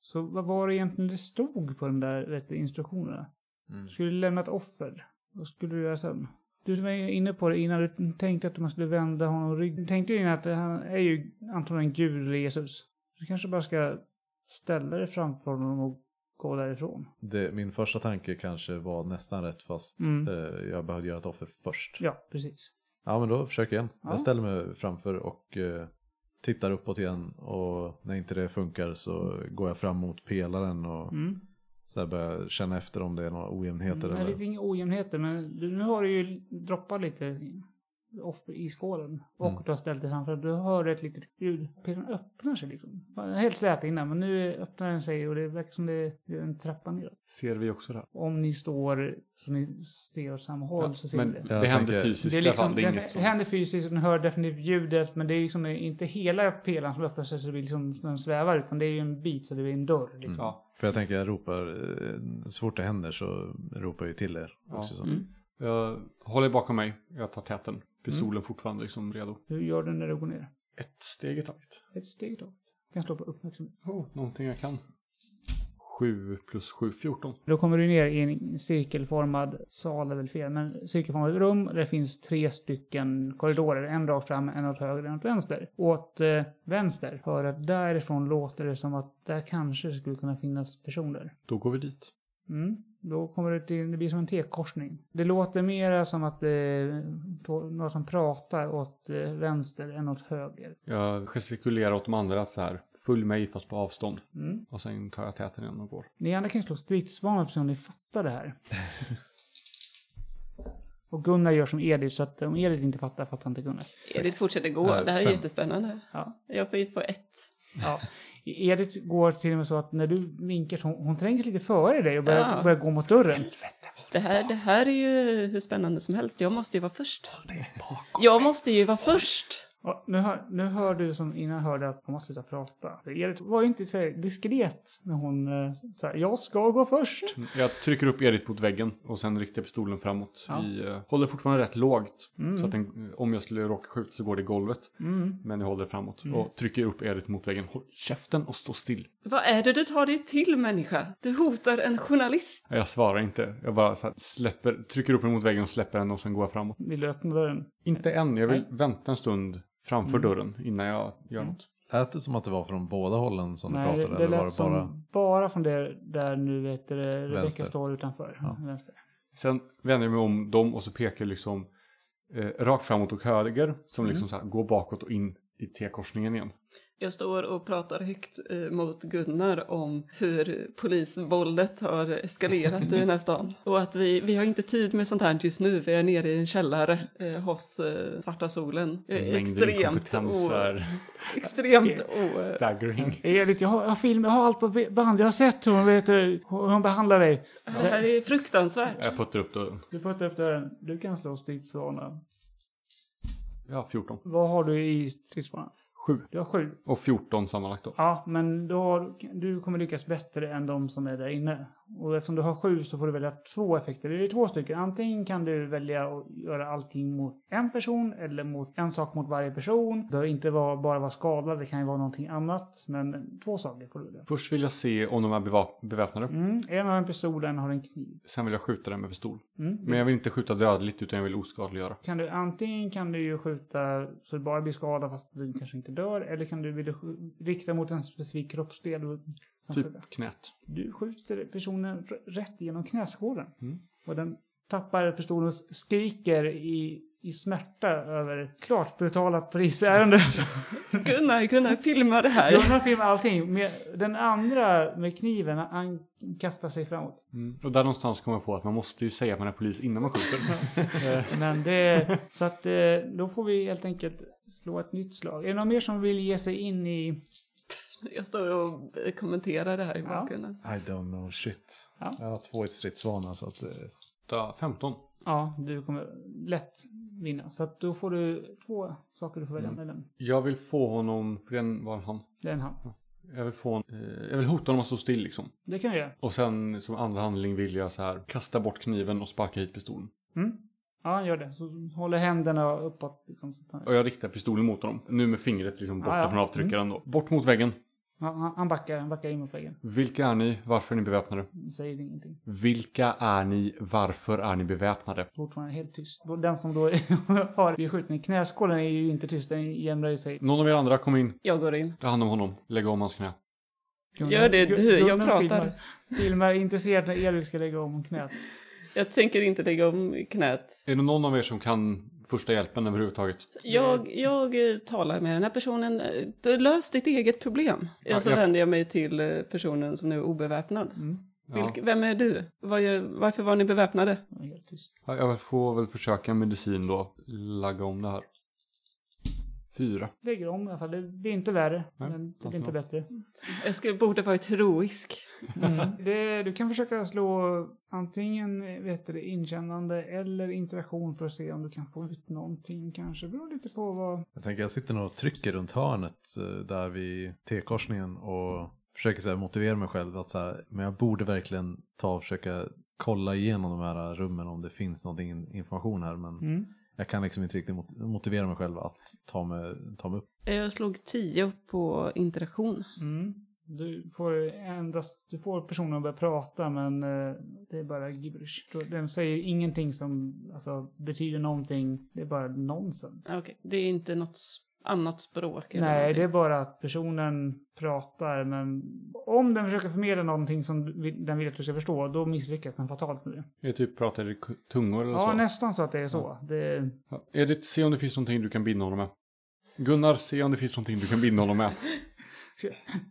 [SPEAKER 3] Så vad var det egentligen det stod på de där vet, du, instruktionerna?
[SPEAKER 4] Mm.
[SPEAKER 3] Du skulle lämna ett offer. Vad skulle du göra sen? Du var ju inne på det innan, du tänkte att man skulle vända honom ryggen. Du tänkte ju innan att han är ju antagligen Gud eller Jesus. Du kanske bara ska ställa dig framför honom och gå därifrån.
[SPEAKER 4] Det, min första tanke kanske var nästan rätt fast
[SPEAKER 3] Mm.
[SPEAKER 4] eh, jag behövde göra ett offer först. Ja,
[SPEAKER 3] Ja, precis.
[SPEAKER 4] men då försöker jag igen.
[SPEAKER 3] Ja.
[SPEAKER 4] Jag ställer mig framför och eh, tittar uppåt igen och när inte det funkar så går jag fram mot pelaren och
[SPEAKER 3] Mm.
[SPEAKER 4] så här börjar känna efter om det är några ojämnheter.
[SPEAKER 3] Nej,
[SPEAKER 4] eller...
[SPEAKER 3] lite inga ojämnheter, men du- nu har du ju droppat lite off i skålen och
[SPEAKER 4] Mm.
[SPEAKER 3] du har ställt dig framför. Du hör ett litet ljud. Pilen öppnar sig liksom. Den var Helt slät innan, men nu öppnar den sig och det verkar som det är en trappa neråt.
[SPEAKER 2] Ser vi också det här?
[SPEAKER 3] Om ni står så ni ser åt samma håll så ser
[SPEAKER 2] men
[SPEAKER 3] ni det.
[SPEAKER 2] det
[SPEAKER 4] Jag
[SPEAKER 2] händer
[SPEAKER 4] tänker-
[SPEAKER 2] fysiskt
[SPEAKER 3] Det, är
[SPEAKER 2] i alla fall.
[SPEAKER 3] liksom,
[SPEAKER 2] Det
[SPEAKER 3] det
[SPEAKER 2] är inget som...
[SPEAKER 3] händer fysiskt, och ni hör definitivt ljudet, men det är liksom inte hela pelaren som öppnar sig så det blir liksom som den svävar, utan det är ju en bit så det blir en dörr. Liksom.
[SPEAKER 4] Mm.
[SPEAKER 2] Ja.
[SPEAKER 4] För jag tänker jag ropar, eh, så fort det händer så ropar jag ju till er.
[SPEAKER 2] Ja.
[SPEAKER 4] Också, så.
[SPEAKER 1] Mm.
[SPEAKER 2] Jag håller bakom mig. Jag tar täten.
[SPEAKER 3] Mm.
[SPEAKER 2] Pistolen fortfarande liksom redo.
[SPEAKER 3] Hur gör du när du går ner?
[SPEAKER 2] Ett steg i taget.
[SPEAKER 3] Ett steg då. Du kan slå på uppmärksamhet.
[SPEAKER 2] Oh, någonting jag kan. 7 plus 7, 14.
[SPEAKER 3] Då kommer du ner i en cirkelformad sal, är väl fel, men cirkelformat rum där det finns tre stycken korridorer. En rakt fram, en åt höger, en åt vänster. Åt eh, vänster, för att därifrån låter det som att där kanske skulle kunna finnas personer.
[SPEAKER 2] Då går vi dit.
[SPEAKER 3] Mm. Då kommer det till, det blir som en T-korsning. Det låter mera som att det är några som pratar åt eh, vänster än åt höger.
[SPEAKER 2] Jag gestikulerar åt de andra så här. Följ mig fast på avstånd.
[SPEAKER 3] Mm.
[SPEAKER 2] Och sen tar jag täten igen och går.
[SPEAKER 3] Ni andra kan slå stridsvarnare för att se om ni fattar det här. Och Gunnar gör som Edith, så att om Edith inte fattar, fattar inte Gunnar.
[SPEAKER 1] Edith fortsätter gå.
[SPEAKER 4] Nej,
[SPEAKER 1] det här är
[SPEAKER 4] eh, fem.
[SPEAKER 1] jättespännande.
[SPEAKER 3] Ja.
[SPEAKER 1] Jag får ju på ett.
[SPEAKER 3] ja. Edith går till och med så att när du vinkar så hon, hon tränger sig lite före dig och börjar,
[SPEAKER 1] Ja.
[SPEAKER 3] börjar gå mot dörren.
[SPEAKER 1] Det här, det här är ju hur spännande som helst. Jag måste ju vara först. Jag måste ju vara först!
[SPEAKER 3] Och nu, hör, nu hör du som innan hörde att hon måste sluta prata. För Edith var ju inte så här diskret när hon eh, sa jag ska gå först.
[SPEAKER 4] Mm.
[SPEAKER 2] Jag trycker upp Edith mot väggen och sen riktar jag pistolen framåt.
[SPEAKER 3] Ja.
[SPEAKER 2] I, eh, håller fortfarande rätt lågt.
[SPEAKER 3] Mm.
[SPEAKER 2] Så att den, om jag skulle råka skjuta så går det i golvet.
[SPEAKER 3] Mm.
[SPEAKER 2] Men jag håller framåt
[SPEAKER 3] Mm.
[SPEAKER 2] och trycker upp Edith mot väggen. Håll käften och stå still.
[SPEAKER 1] Vad är det du tar dig till människa? Du hotar en journalist.
[SPEAKER 2] Jag svarar inte. Jag bara så här släpper, trycker upp den mot väggen och släpper den och sen går jag framåt.
[SPEAKER 3] Vill du öppna dörren?
[SPEAKER 2] Inte än, jag vill
[SPEAKER 3] Nej.
[SPEAKER 2] vänta en stund framför dörren innan jag gör
[SPEAKER 3] Mm.
[SPEAKER 2] något.
[SPEAKER 4] Lät det som att det var från båda hållen som
[SPEAKER 3] Nej,
[SPEAKER 4] du
[SPEAKER 3] det,
[SPEAKER 4] pratade?
[SPEAKER 3] det
[SPEAKER 4] Eller var
[SPEAKER 3] lät
[SPEAKER 4] det
[SPEAKER 3] som
[SPEAKER 4] bara...
[SPEAKER 3] bara... från det där nu vet du, Rebecka
[SPEAKER 4] Vänster.
[SPEAKER 3] står utanför.
[SPEAKER 4] Ja.
[SPEAKER 3] Vänster.
[SPEAKER 2] Sen vänder jag mig om dem och så pekar jag liksom eh, rakt framåt och höger som
[SPEAKER 3] Mm.
[SPEAKER 2] liksom så här går bakåt och in i T-korsningen igen.
[SPEAKER 1] Jag står och pratar högt eh, mot Gunnar om hur polisvåldet har eskalerat i den här stan. Och att vi, vi har inte tid med sånt här just nu. Vi är nere i en källare eh, hos eh, Svarta Solen. Jag är
[SPEAKER 2] Mängder
[SPEAKER 1] extremt,
[SPEAKER 2] inkompetens
[SPEAKER 1] o,
[SPEAKER 2] är
[SPEAKER 1] extremt o,
[SPEAKER 2] staggering.
[SPEAKER 3] Edith, jag har, jag har film, jag har allt på band. Jag har sett hur hon, vet, du, hur hon behandlar dig.
[SPEAKER 1] Det här är fruktansvärt.
[SPEAKER 2] Jag puttar upp dörren.
[SPEAKER 3] Du puttar upp dörren. Du kan slå stridsvana.
[SPEAKER 2] Ja, 14.
[SPEAKER 3] Vad har du i stridsvana?
[SPEAKER 2] 7
[SPEAKER 3] Du har sju.
[SPEAKER 2] och 14 sammanlagt då.
[SPEAKER 3] Ja, men då har, du kommer lyckas bättre än de som är där inne. Och eftersom du har sju så får du välja två effekter. Det är två stycken. Antingen kan du välja att göra allting mot en person eller mot en sak mot varje person. Det behöver inte vara, bara vara skadad, det kan ju vara någonting annat. Men två saker får du välja.
[SPEAKER 2] Först vill jag se om de är beva- beväpnade.
[SPEAKER 3] Mm, en har en pistol, en har en kniv.
[SPEAKER 2] Sen vill jag skjuta den med pistol.
[SPEAKER 3] Mm.
[SPEAKER 2] Men jag vill inte skjuta dödligt utan jag vill oskadliggöra.
[SPEAKER 3] Kan du, antingen kan du ju skjuta så du bara blir skadad fast du kanske inte dör. Eller kan du, vill du sk- rikta mot en specifik kroppsdel. och-
[SPEAKER 2] Typ knät.
[SPEAKER 3] Du skjuter personen r- rätt genom knäskålen.
[SPEAKER 2] Mm.
[SPEAKER 3] Och den tappar pistolen och skriker i, i smärta över klart brutala polisärenden.
[SPEAKER 1] Gunnar, Gunnar, filma det här.
[SPEAKER 3] Gunnar filmar allting. Med, den andra med kniven, han kastar sig framåt.
[SPEAKER 2] Mm. Och där någonstans kommer jag på att man måste ju säga att man är polis innan man skjuter. Eh,
[SPEAKER 3] Men det, så att eh, då får vi helt enkelt slå ett nytt slag. Är det någon mer som vill ge sig in i...
[SPEAKER 1] Jag står och eh, kommenterar det här i bakgrunden.
[SPEAKER 4] I don't know shit.
[SPEAKER 3] Ja.
[SPEAKER 4] Jag har två i stridsvana så att... eh,
[SPEAKER 2] ta 15.
[SPEAKER 3] Ja, du kommer lätt vinna. Så att då får du två saker du får välja
[SPEAKER 2] Mm.
[SPEAKER 3] mellan.
[SPEAKER 2] Jag vill få honom, för den var han.
[SPEAKER 3] Den här.
[SPEAKER 2] Jag vill få honom, eh, jag vill hota honom att stå still liksom.
[SPEAKER 3] Det kan du göra.
[SPEAKER 2] Och sen som andra handling vill jag så här kasta bort kniven och sparka hit pistolen.
[SPEAKER 3] Mm. Ja, han gör det. Så håller händerna uppåt. Liksom, så att han,
[SPEAKER 2] Och jag riktar pistolen mot honom. Nu med fingret liksom borta
[SPEAKER 3] Ah, ja.
[SPEAKER 2] från avtryckaren då. Bort mot väggen.
[SPEAKER 3] han, han, backar, han backar in mot väggen.
[SPEAKER 2] Vilka är ni? Varför är ni beväpnade?
[SPEAKER 3] Säger ingenting.
[SPEAKER 2] Vilka är ni? Varför är ni beväpnade?
[SPEAKER 3] Fortfarande helt tyst. Och Den som då har blivit skjuten i knäskålen är ju inte tyst. Den jämrar ju sig.
[SPEAKER 2] Någon av er andra, kom in.
[SPEAKER 1] Jag går in.
[SPEAKER 2] Ta hand om honom. Lägg om hans knä.
[SPEAKER 3] Gunnar-
[SPEAKER 1] Gör det du, jag
[SPEAKER 3] Gunnar
[SPEAKER 1] pratar.
[SPEAKER 3] Filmar, filmar intresserat när Elin ska lägga om knät.
[SPEAKER 1] Jag tänker inte lägga om knät.
[SPEAKER 2] Är det någon av er som kan första hjälpen överhuvudtaget?
[SPEAKER 1] Jag, jag eh, talar med den här personen. eh, Du lös ditt eget problem.
[SPEAKER 2] Ja,
[SPEAKER 1] Och så
[SPEAKER 2] jag-
[SPEAKER 1] vänder jag mig till eh, personen som nu är obeväpnad.
[SPEAKER 2] Ja.
[SPEAKER 1] Vilk, vem är du? Vad gör- varför var ni beväpnade?
[SPEAKER 3] Han är Helt tyst.
[SPEAKER 2] Ja, Jag får väl försöka medicin då. Lagga om det här. Fyra.
[SPEAKER 3] Lägger om i alla fall. Det blir inte värre.
[SPEAKER 2] Nej,
[SPEAKER 3] men det
[SPEAKER 2] inte
[SPEAKER 3] blir inte
[SPEAKER 2] bra.
[SPEAKER 3] bättre.
[SPEAKER 1] Jag skulle, borde varit heroisk.
[SPEAKER 3] Det, du kan försöka slå antingen vet du, det, inkännande eller interaktion för att se om du kan få ut någonting kanske. Det beror lite på vad...
[SPEAKER 4] Jag tänker jag sitter nog och trycker runt hörnet eh, där vid T-korsningen och försöker så här, motivera mig själv att så här, men jag borde verkligen ta och försöka kolla igenom de här rummen om det finns någonting information här men
[SPEAKER 3] Mm.
[SPEAKER 4] jag kan liksom inte riktigt mot- motivera mig själv att ta mig, ta mig upp.
[SPEAKER 1] Jag slog 10 på interaktion.
[SPEAKER 3] Mm. Du får endast, du får personen att börja prata men eh, det är bara gibberish. Så Den säger ingenting som alltså, betyder någonting. Det är bara nonsens.
[SPEAKER 1] Okej, det är inte något s- annat språk? eller
[SPEAKER 3] Nej, det är
[SPEAKER 1] någonting.
[SPEAKER 3] bara att personen pratar men om den försöker förmedla någonting som du vill- den vill att du ska förstå då misslyckas den fatalt med det.
[SPEAKER 2] Jag typ pratar i k- tungor eller
[SPEAKER 3] Ja,
[SPEAKER 2] så.
[SPEAKER 3] nästan så att det är så. Det,
[SPEAKER 2] Ja, Edith, se om det finns någonting du kan binda honom med. Gunnar, se om det finns någonting du kan binda honom med.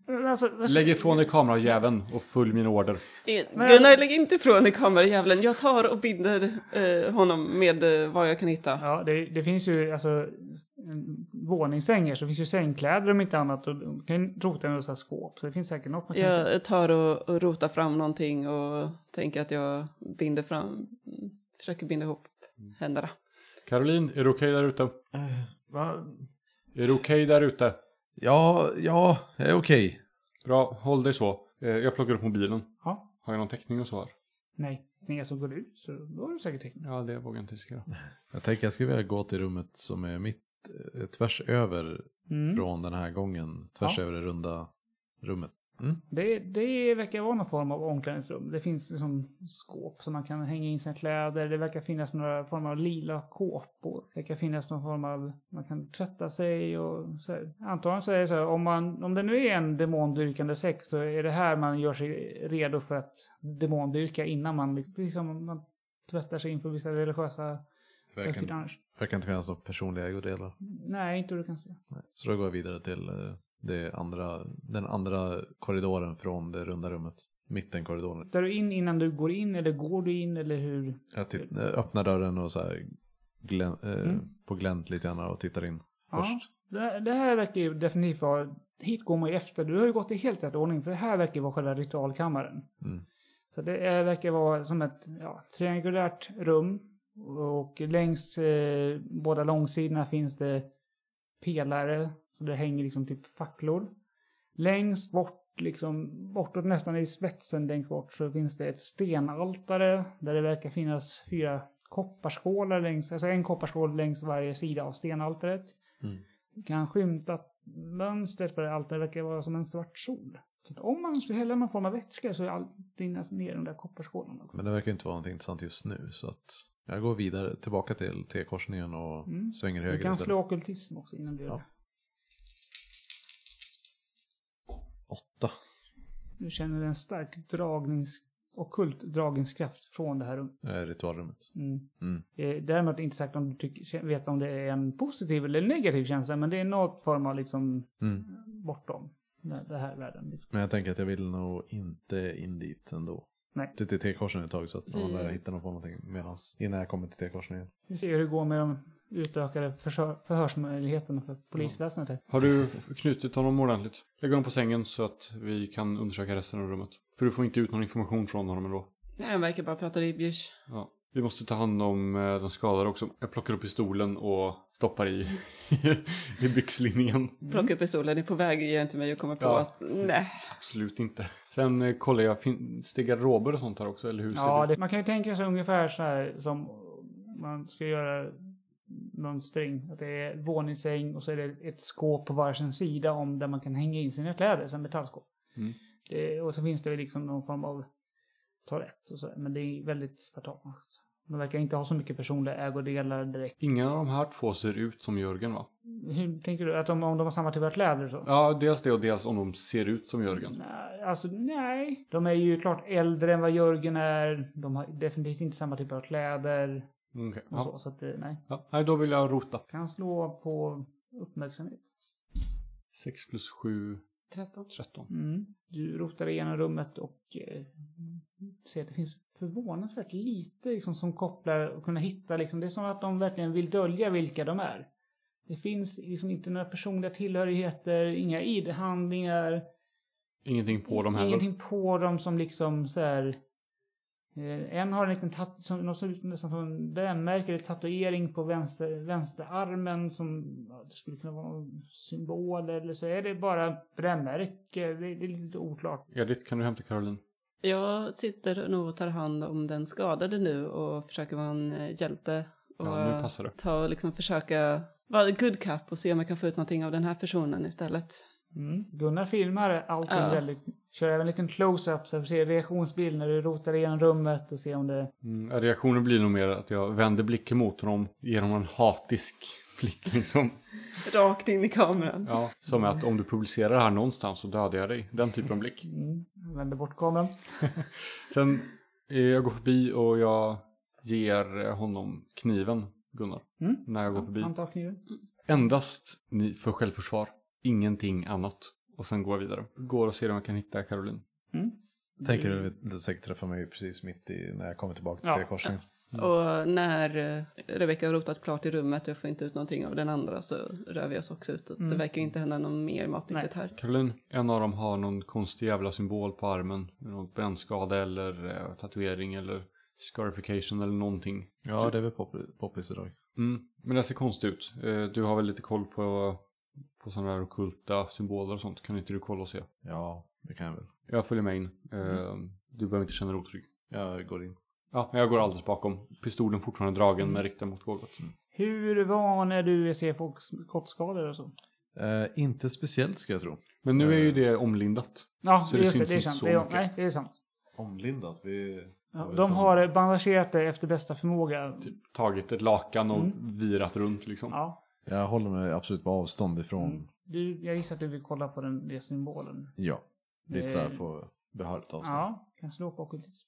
[SPEAKER 3] Men alltså, vad-
[SPEAKER 2] Lägg ifrån dig kamerajäveln och följ min order.
[SPEAKER 1] Eh,
[SPEAKER 3] Men-
[SPEAKER 1] Gunnar, lägg inte ifrån dig kamerajävlen. Jag tar och binder eh, honom med eh, vad jag kan hitta.
[SPEAKER 3] Ja, det, det finns ju alltså en- våningssängar så det finns ju sängkläder om inte annat och du kan rota i några så här skåp. Så det finns säkert något man kan hitta.
[SPEAKER 1] Jag tar och, och rotar fram någonting och tänker att jag binder fram, försöker binda ihop
[SPEAKER 2] Mm.
[SPEAKER 1] händerna.
[SPEAKER 2] Caroline, är du okej där ute?
[SPEAKER 4] Eh, va?
[SPEAKER 2] Är du okej där ute?
[SPEAKER 4] Ja, ja, jag är okej.
[SPEAKER 2] Bra, håll dig så. Eh, Jag plockar upp mobilen.
[SPEAKER 3] Ja,
[SPEAKER 2] Har jag någon täckning och så här?
[SPEAKER 3] nej. När jag så går ut så då har du säkert tecknat.
[SPEAKER 2] Ja, det vågar jag inte riskera.
[SPEAKER 4] Jag tänker jag skulle vilja gå till rummet som är mitt, eh, tvärs över
[SPEAKER 3] Mm.
[SPEAKER 4] från den här gången. Tvärs
[SPEAKER 3] Ja.
[SPEAKER 4] över det runda rummet.
[SPEAKER 3] Det, det verkar vara någon form av omklädningsrum. Det finns liksom skåp som man kan hänga in sina kläder. Det verkar finnas några form av lila kåpor. Det verkar finnas någon form av, man kan tvätta sig och så här. Antagligen så är det så här, om, man, om det nu är en demondyrkande sekt så är det här man gör sig redo för att demondyrka innan man liksom, precis som man tvättar sig inför vissa religiösa högtider
[SPEAKER 4] Verkar,
[SPEAKER 3] annars.
[SPEAKER 4] verkar inte finnas några personliga ägodelar.
[SPEAKER 3] Nej, inte vad du kan se.
[SPEAKER 4] Nej. Så då går jag vidare till eh, det andra, den andra korridoren från det runda rummet. Mittenkorridoren.
[SPEAKER 3] Tar du in innan du går in eller går du in eller hur?
[SPEAKER 4] Jag titt, eh, öppnar dörren och så här glän, eh,
[SPEAKER 3] Mm.
[SPEAKER 4] på glänt lite grann och tittar in
[SPEAKER 3] Ja.
[SPEAKER 4] först.
[SPEAKER 3] Det, det här verkar ju definitivt vara... Hit går man ju efter. Du har ju gått i helt rätt ordning. För det här verkar ju vara själva ritualkammaren.
[SPEAKER 4] Mm.
[SPEAKER 3] Så det är, verkar vara som ett ja, triangulärt rum. Och längs eh, båda långsidorna finns det pelare. Så det hänger liksom typ facklor. Längst bort, liksom bortåt nästan i spetsen längst bort så finns det ett stenaltare. Där det verkar finnas fyra kopparskålar längs, alltså en kopparskål längs varje sida av stenaltaret
[SPEAKER 4] Mm.
[SPEAKER 3] kan skymta mönstret på det allt. Det verkar vara som en svart sol. Så att om man skulle hälla någon form av vätska så är allt rinner ner i de där kopparskålarna.
[SPEAKER 4] Men det verkar inte vara någonting intressant just nu så att jag går vidare tillbaka till T-korsningen och
[SPEAKER 3] Mm.
[SPEAKER 4] svänger
[SPEAKER 3] Du
[SPEAKER 4] höger
[SPEAKER 3] kan slå
[SPEAKER 4] istället.
[SPEAKER 3] ockultism också innan du gör
[SPEAKER 4] Ja.
[SPEAKER 3] det.
[SPEAKER 4] Åtta.
[SPEAKER 3] Du känner en stark dragnings, ockult dragningskraft från det här rummet.
[SPEAKER 4] Eh, Ritualrummet.
[SPEAKER 3] Mm.
[SPEAKER 4] Mm.
[SPEAKER 3] Eh, Däremot inte sagt om du tycker, vet om det är en positiv eller negativ känsla, men det är något form av liksom
[SPEAKER 4] Mm.
[SPEAKER 3] bortom den den här världen. Liksom.
[SPEAKER 4] Men jag tänker att jag vill nog inte in dit ändå. Typ
[SPEAKER 3] Nej.
[SPEAKER 4] Till till T-korsningen ett tag så att man
[SPEAKER 1] Vi-
[SPEAKER 4] börjar hitta någon på någonting medans, innan jag kommer till T-korsningen.
[SPEAKER 3] Vi ser hur det går med de utökade försö- förhörsmöjligheterna för polisväsendet. här.
[SPEAKER 2] Har du f- knutit honom ordentligt? Lägg honom på sängen så att vi kan undersöka resten av rummet. För du får inte ut någon information från honom ändå.
[SPEAKER 1] Nej, han verkar bara prata ribbjish.
[SPEAKER 2] Ja. Vi måste ta hand om eh, de skadade också. Jag plockar upp pistolen och stoppar i, i byxlinningen.
[SPEAKER 1] Plocka upp pistolen, det är på väg igen till mig och kommer på
[SPEAKER 2] Mm. Ja,
[SPEAKER 1] att
[SPEAKER 2] precis.
[SPEAKER 1] nej.
[SPEAKER 2] Absolut inte. Sen eh, kollar jag, finns det garderober och sånt här också? Eller hur ser
[SPEAKER 3] Ja,
[SPEAKER 2] det
[SPEAKER 3] det, man kan ju tänka sig ungefär så här som man ska göra mönstring. Att det är våningssäng och så är det ett skåp på varsin sida om där man kan hänga in sina kläder, som metallskåp.
[SPEAKER 2] Mm.
[SPEAKER 3] Det, och så finns det ju liksom någon form av toalett och så, där, men det är väldigt spartanskt. Man verkar inte ha så mycket personliga ägodelar direkt.
[SPEAKER 2] Ingen av de här två ser ut som Jörgen va?
[SPEAKER 3] Hur tänker du? Att de, om de har samma typ av kläder och så?
[SPEAKER 2] Ja, dels det och dels om de ser ut som Jörgen.
[SPEAKER 3] Nej, alltså nej. De är ju klart äldre än vad Jörgen är. De har definitivt inte samma typ av kläder
[SPEAKER 2] Okej.
[SPEAKER 3] och
[SPEAKER 2] Ja.
[SPEAKER 3] så. Så att, eh, nej.
[SPEAKER 2] Ja. Nej, då vill jag rota.
[SPEAKER 3] Kan slå på uppmärksamhet.
[SPEAKER 2] 6 plus 7,
[SPEAKER 1] 13.
[SPEAKER 2] 13.
[SPEAKER 3] Mm. Du rotar igenom rummet och eh, ser att det finns förvånansvärt lite liksom, som kopplar och kunna hitta. Liksom, det är som att de verkligen vill dölja vilka de är. Det finns liksom inte några personliga tillhörigheter, inga ID-handlingar.
[SPEAKER 2] Ingenting på dem heller.
[SPEAKER 3] Ingenting på dem som liksom så här. Eh, en har en liten tat- som, något som, nästan som en brännmärke eller tatuering på vänster, vänsterarmen som ja, det skulle kunna vara någon symbol eller så är det bara brännmärke. Det, det är lite oklart.
[SPEAKER 2] Edith, kan du hämta Caroline?
[SPEAKER 1] Jag sitter nog och tar hand om den skadade nu och försöker vara en eh, hjälte. Och
[SPEAKER 2] Ja, nu
[SPEAKER 1] eh,
[SPEAKER 2] passar det.
[SPEAKER 1] ta och liksom försöka vara good cup och se om jag kan få ut någonting av den här personen istället.
[SPEAKER 3] Mm. Gunnar filmar allting
[SPEAKER 1] Ja.
[SPEAKER 3] väldigt. Kör även en liten close-up så vi ser reaktionsbild när du rotar igenom rummet och ser om det...
[SPEAKER 2] Mm, reaktionen blir nog mer att jag vänder blicken mot honom genom en hatisk blick liksom.
[SPEAKER 1] Rakt in i kameran.
[SPEAKER 2] Ja, som att om du publicerar det här någonstans så dödar jag dig. Den typen av blick.
[SPEAKER 3] Mm. Vänder bort kameran.
[SPEAKER 2] Sen eh, jag går förbi och jag ger honom kniven, Gunnar.
[SPEAKER 3] Mm.
[SPEAKER 2] När jag går förbi.
[SPEAKER 3] Han tar kniven.
[SPEAKER 2] Endast ni för självförsvar. Ingenting annat. Och sen går jag vidare. Går och ser om jag kan hitta Caroline.
[SPEAKER 4] Tänker du att du säkert träffar mig precis mitt i när jag kommer tillbaka till
[SPEAKER 3] Mm. Ja.
[SPEAKER 4] T-korsningen.
[SPEAKER 1] Och när eh, Rebecca har rotat klart i rummet och jag får inte ut någonting av den andra så rör vi oss också ut. Det
[SPEAKER 3] Mm.
[SPEAKER 1] verkar ju inte hända något mer matnyttigt här.
[SPEAKER 2] Caroline, en av dem har någon konstig jävla symbol på armen. Någon brännskada eller eh, tatuering eller scarification eller någonting.
[SPEAKER 4] Ja, det är väl pop- poppis idag.
[SPEAKER 2] Mm, men det ser konstigt ut. Eh, Du har väl lite koll på, på sådana här ockulta symboler och sånt. Kan inte du kolla och se?
[SPEAKER 4] Ja, det kan jag väl.
[SPEAKER 2] Jag följer med in. Eh, Du behöver inte känna dig otrygg.
[SPEAKER 4] Jag går in.
[SPEAKER 2] Ja, men jag går alldeles bakom. Pistolen fortfarande dragen men riktad mot golvet.
[SPEAKER 3] Hur van är du att se folks skottskador och så?
[SPEAKER 4] Eh, inte speciellt ska jag tro.
[SPEAKER 2] Men nu är ju det omlindat.
[SPEAKER 3] Ja,
[SPEAKER 2] Så det
[SPEAKER 3] just det.
[SPEAKER 2] syns
[SPEAKER 3] Det är
[SPEAKER 2] inte
[SPEAKER 3] sant.
[SPEAKER 2] så
[SPEAKER 3] Det är,
[SPEAKER 2] mycket.
[SPEAKER 3] nej, det är sant.
[SPEAKER 4] Omlindat. Vi...
[SPEAKER 3] Ja,
[SPEAKER 4] det är
[SPEAKER 3] de
[SPEAKER 4] sant.
[SPEAKER 3] har eh, bandagerat dig efter bästa förmåga.
[SPEAKER 2] Typ tagit ett lakan och virat runt liksom.
[SPEAKER 3] Ja.
[SPEAKER 4] Jag håller mig absolut på avstånd ifrån.
[SPEAKER 3] Mm. Du, jag gissar att du vill kolla på den, den symbolen.
[SPEAKER 4] Ja, lite
[SPEAKER 3] Eh,
[SPEAKER 4] så här på behörigt avstånd.
[SPEAKER 3] Ja, kan slå på ockultism.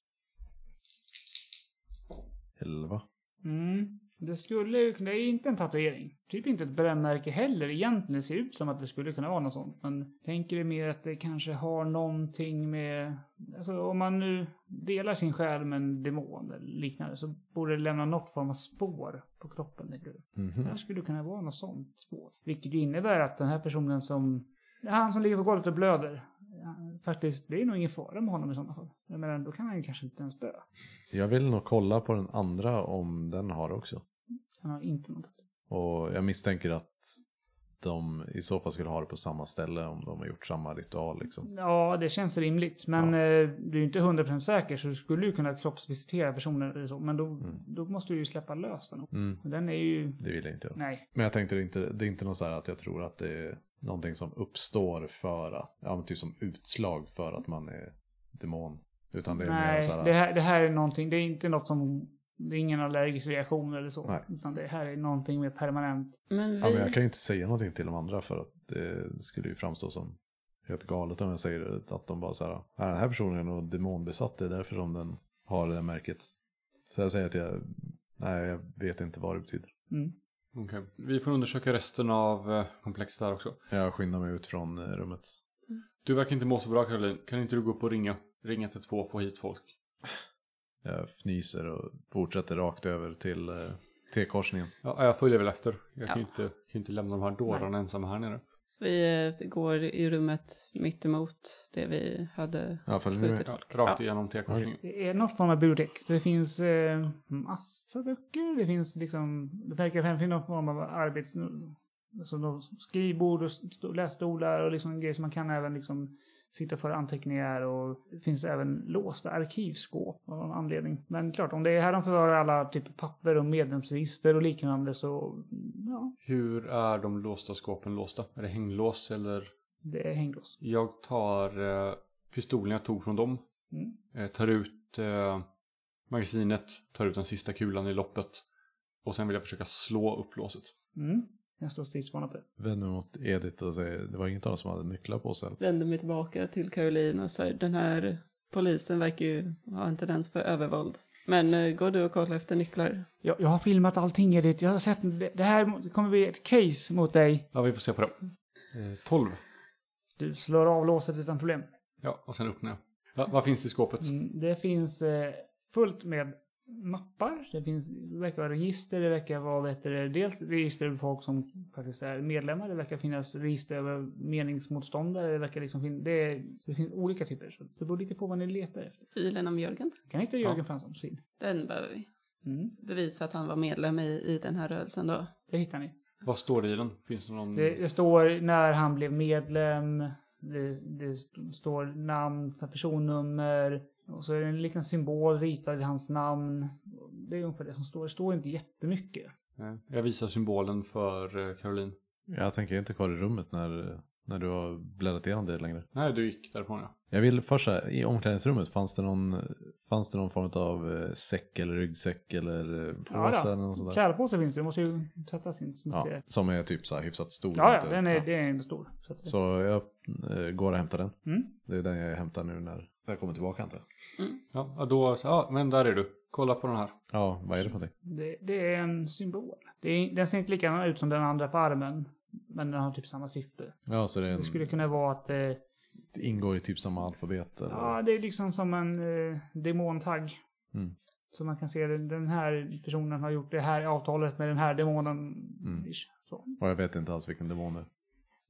[SPEAKER 4] Elva.
[SPEAKER 3] Mm. Det skulle ju kunna, det är inte en tatuering. Typ inte ett brännmärke heller egentligen. Det ser ut som att det skulle kunna vara något sånt. Men tänker det mer att det kanske har någonting med, alltså om man nu delar sin själ med en demon eller liknande så borde det lämna något form av spår på kroppen. tänker du. Det
[SPEAKER 4] Mhm.
[SPEAKER 3] här skulle kunna vara något sånt spår. Vilket ju innebär att den här personen som, han som ligger på golvet och blöder, han- faktiskt, det är nog ingen fara med honom i sådana fall. Jag menar, då kan han ju kanske inte ens dö.
[SPEAKER 4] Jag vill nog kolla på den andra om den har det också.
[SPEAKER 3] Han har inte något.
[SPEAKER 4] Och jag misstänker att de i så fall skulle ha det på samma ställe om de har gjort samma ritual liksom.
[SPEAKER 3] Ja, det känns rimligt. Men eh, du är ju inte 100% säker så du skulle ju kunna kroppsvisitera personen eller så. Men då, då måste du ju släppa lös den.
[SPEAKER 4] Mm.
[SPEAKER 3] Och Den är ju...
[SPEAKER 4] Det vill jag inte göra.
[SPEAKER 3] Nej.
[SPEAKER 4] Men jag tänkte det är inte, det är inte något så här att jag tror att det är någonting som uppstår för att, ja men typ som utslag för att man är demon. Utan det är mer
[SPEAKER 3] nej.
[SPEAKER 4] så här,
[SPEAKER 3] Det, här, det här är någonting. Det är inte något som... Det är ingen allergisk reaktion eller så.
[SPEAKER 4] Nej.
[SPEAKER 3] Utan det här är någonting mer permanent.
[SPEAKER 1] Men vi...
[SPEAKER 4] ja men jag kan ju inte säga någonting till de andra för att det skulle ju framstå som helt galet om jag säger att de bara så här, "Ja, den här personen är nog demonbesatt, det är därför som den har det där märket. Så jag säger att jag, nej jag vet inte vad det betyder.
[SPEAKER 3] Mm.
[SPEAKER 2] Okej. Vi får undersöka resten av eh, komplexet här också.
[SPEAKER 4] Jag skyndar mig ut från eh, rummet.
[SPEAKER 2] Du verkar inte må så bra Caroline. Kan inte du gå upp och ringa? Ringa till två få hit folk.
[SPEAKER 4] Jag fnyser och fortsätter rakt över till eh, T-korsningen.
[SPEAKER 2] Ja, jag följer väl efter. Jag kan ju
[SPEAKER 1] Ja.
[SPEAKER 2] inte, kan ju inte lämna de här dårarna ensamma här nere.
[SPEAKER 1] Så vi eh, går i rummet mittemot det vi hade
[SPEAKER 4] Ja, följer ni med?
[SPEAKER 1] skjutit
[SPEAKER 2] Ja,
[SPEAKER 1] folk.
[SPEAKER 2] rakt igenom T-korsningen.
[SPEAKER 3] Det är något form av bibliotek. Så det finns eh, massa böcker. Det finns liksom... Det verkar finnas någon form av arbets... Alltså någon skrivbord och st- lässtolar och liksom grejer som man kan även liksom sitta för anteckningar och det finns även låsta arkivskåp av någon anledning. Men klart, om det är här de förvarar alla typ papper och medlemsregister och liknande så ja,
[SPEAKER 2] Hur är de låsta skåpen låsta? Är det hänglås eller?
[SPEAKER 3] det är hänglås.
[SPEAKER 2] Jag tar eh, pistolen jag tog från dem.
[SPEAKER 3] Mm.
[SPEAKER 2] Eh, tar ut eh, magasinet, tar ut den sista kulan i loppet. Och sen vill jag försöka slå upp låset.
[SPEAKER 3] Mm. Jag står stridsvana på det.
[SPEAKER 4] Vänder mig mot Edith och säger, det var inget av oss som hade nycklar på sig. eller?"
[SPEAKER 1] Vänder mig tillbaka till Caroline och säger den här polisen verkar ju ha en tendens för övervåld. Men eh, går du och kollar efter nycklar?
[SPEAKER 3] Jag, jag har filmat allting Edith. Jag har sett det. Det här kommer bli ett case mot dig.
[SPEAKER 2] Ja, vi får se på det. Eh, 12.
[SPEAKER 3] Du slår av låset utan problem.
[SPEAKER 2] Ja, och sen öppnar jag. Ja, vad finns i skåpet?
[SPEAKER 3] Mm, det finns eh, fullt med mappar. Det, finns, det verkar vara register. Det verkar vara vad heter det, dels register över folk som faktiskt är medlemmar. Det verkar finnas register över meningsmotståndare. Det verkar liksom fin- det, är, det finns olika typer. Så det beror lite på vad ni letar efter.
[SPEAKER 1] Filen om Jörgen?
[SPEAKER 3] Kan hitta Jörgen Franssons fil.
[SPEAKER 1] Den behöver vi.
[SPEAKER 3] Mm,
[SPEAKER 1] Bevis för att han var medlem i, i den här rörelsen då.
[SPEAKER 3] det hittar ni.
[SPEAKER 2] Vad står det i den? Finns det
[SPEAKER 4] Mm.
[SPEAKER 2] någon?
[SPEAKER 3] Det, det står när han blev medlem, det, det st- står namn, personnummer och så är det en liten symbol ritad i hans namn. Det är ungefär det som står. Det står inte jättemycket.
[SPEAKER 2] Eh, Jag visar symbolen för eh, Caroline.
[SPEAKER 4] Jag tänker inte kvar i rummet när eh, När du har bläddrat igenom det längre.
[SPEAKER 2] Nej, du gick därifrån ja.
[SPEAKER 4] Jag vill först säga, i omklädningsrummet, fanns det någon, fanns det någon form av eh, säck eller ryggsäck eller eh, påse
[SPEAKER 3] ja.
[SPEAKER 4] eller något sånt där?
[SPEAKER 3] Kärlpåse finns ju, måste ju tvättas in.
[SPEAKER 4] Ja,
[SPEAKER 3] Ja,
[SPEAKER 4] som är typ så här hyfsat stor.
[SPEAKER 3] ja,
[SPEAKER 4] inte-
[SPEAKER 3] den är, det är ändå stor. Så att,
[SPEAKER 4] Så jag eh, går och hämtar den.
[SPEAKER 3] Mm.
[SPEAKER 4] Det är den jag hämtar nu när jag kommer tillbaka antar jag.
[SPEAKER 2] Ja, ja, då, så, ja, men där är du. Kolla på den här.
[SPEAKER 4] Ja, vad är det för någonting?
[SPEAKER 3] det, det är en symbol. Det är, den ser inte likadan ut som den andra på armen. Men den har typ samma syfte.
[SPEAKER 4] Ja, så det, är en,
[SPEAKER 3] Det skulle kunna vara att eh,
[SPEAKER 4] det ingår i typ samma alfabet eller?
[SPEAKER 3] Ja, det är liksom som en eh, demontagg.
[SPEAKER 4] Mm.
[SPEAKER 3] Så man kan se den, den här personen har gjort det här avtalet med den här demonen.
[SPEAKER 4] Mm.
[SPEAKER 3] Ish, Så.
[SPEAKER 4] Och jag vet inte alls vilken demon det är.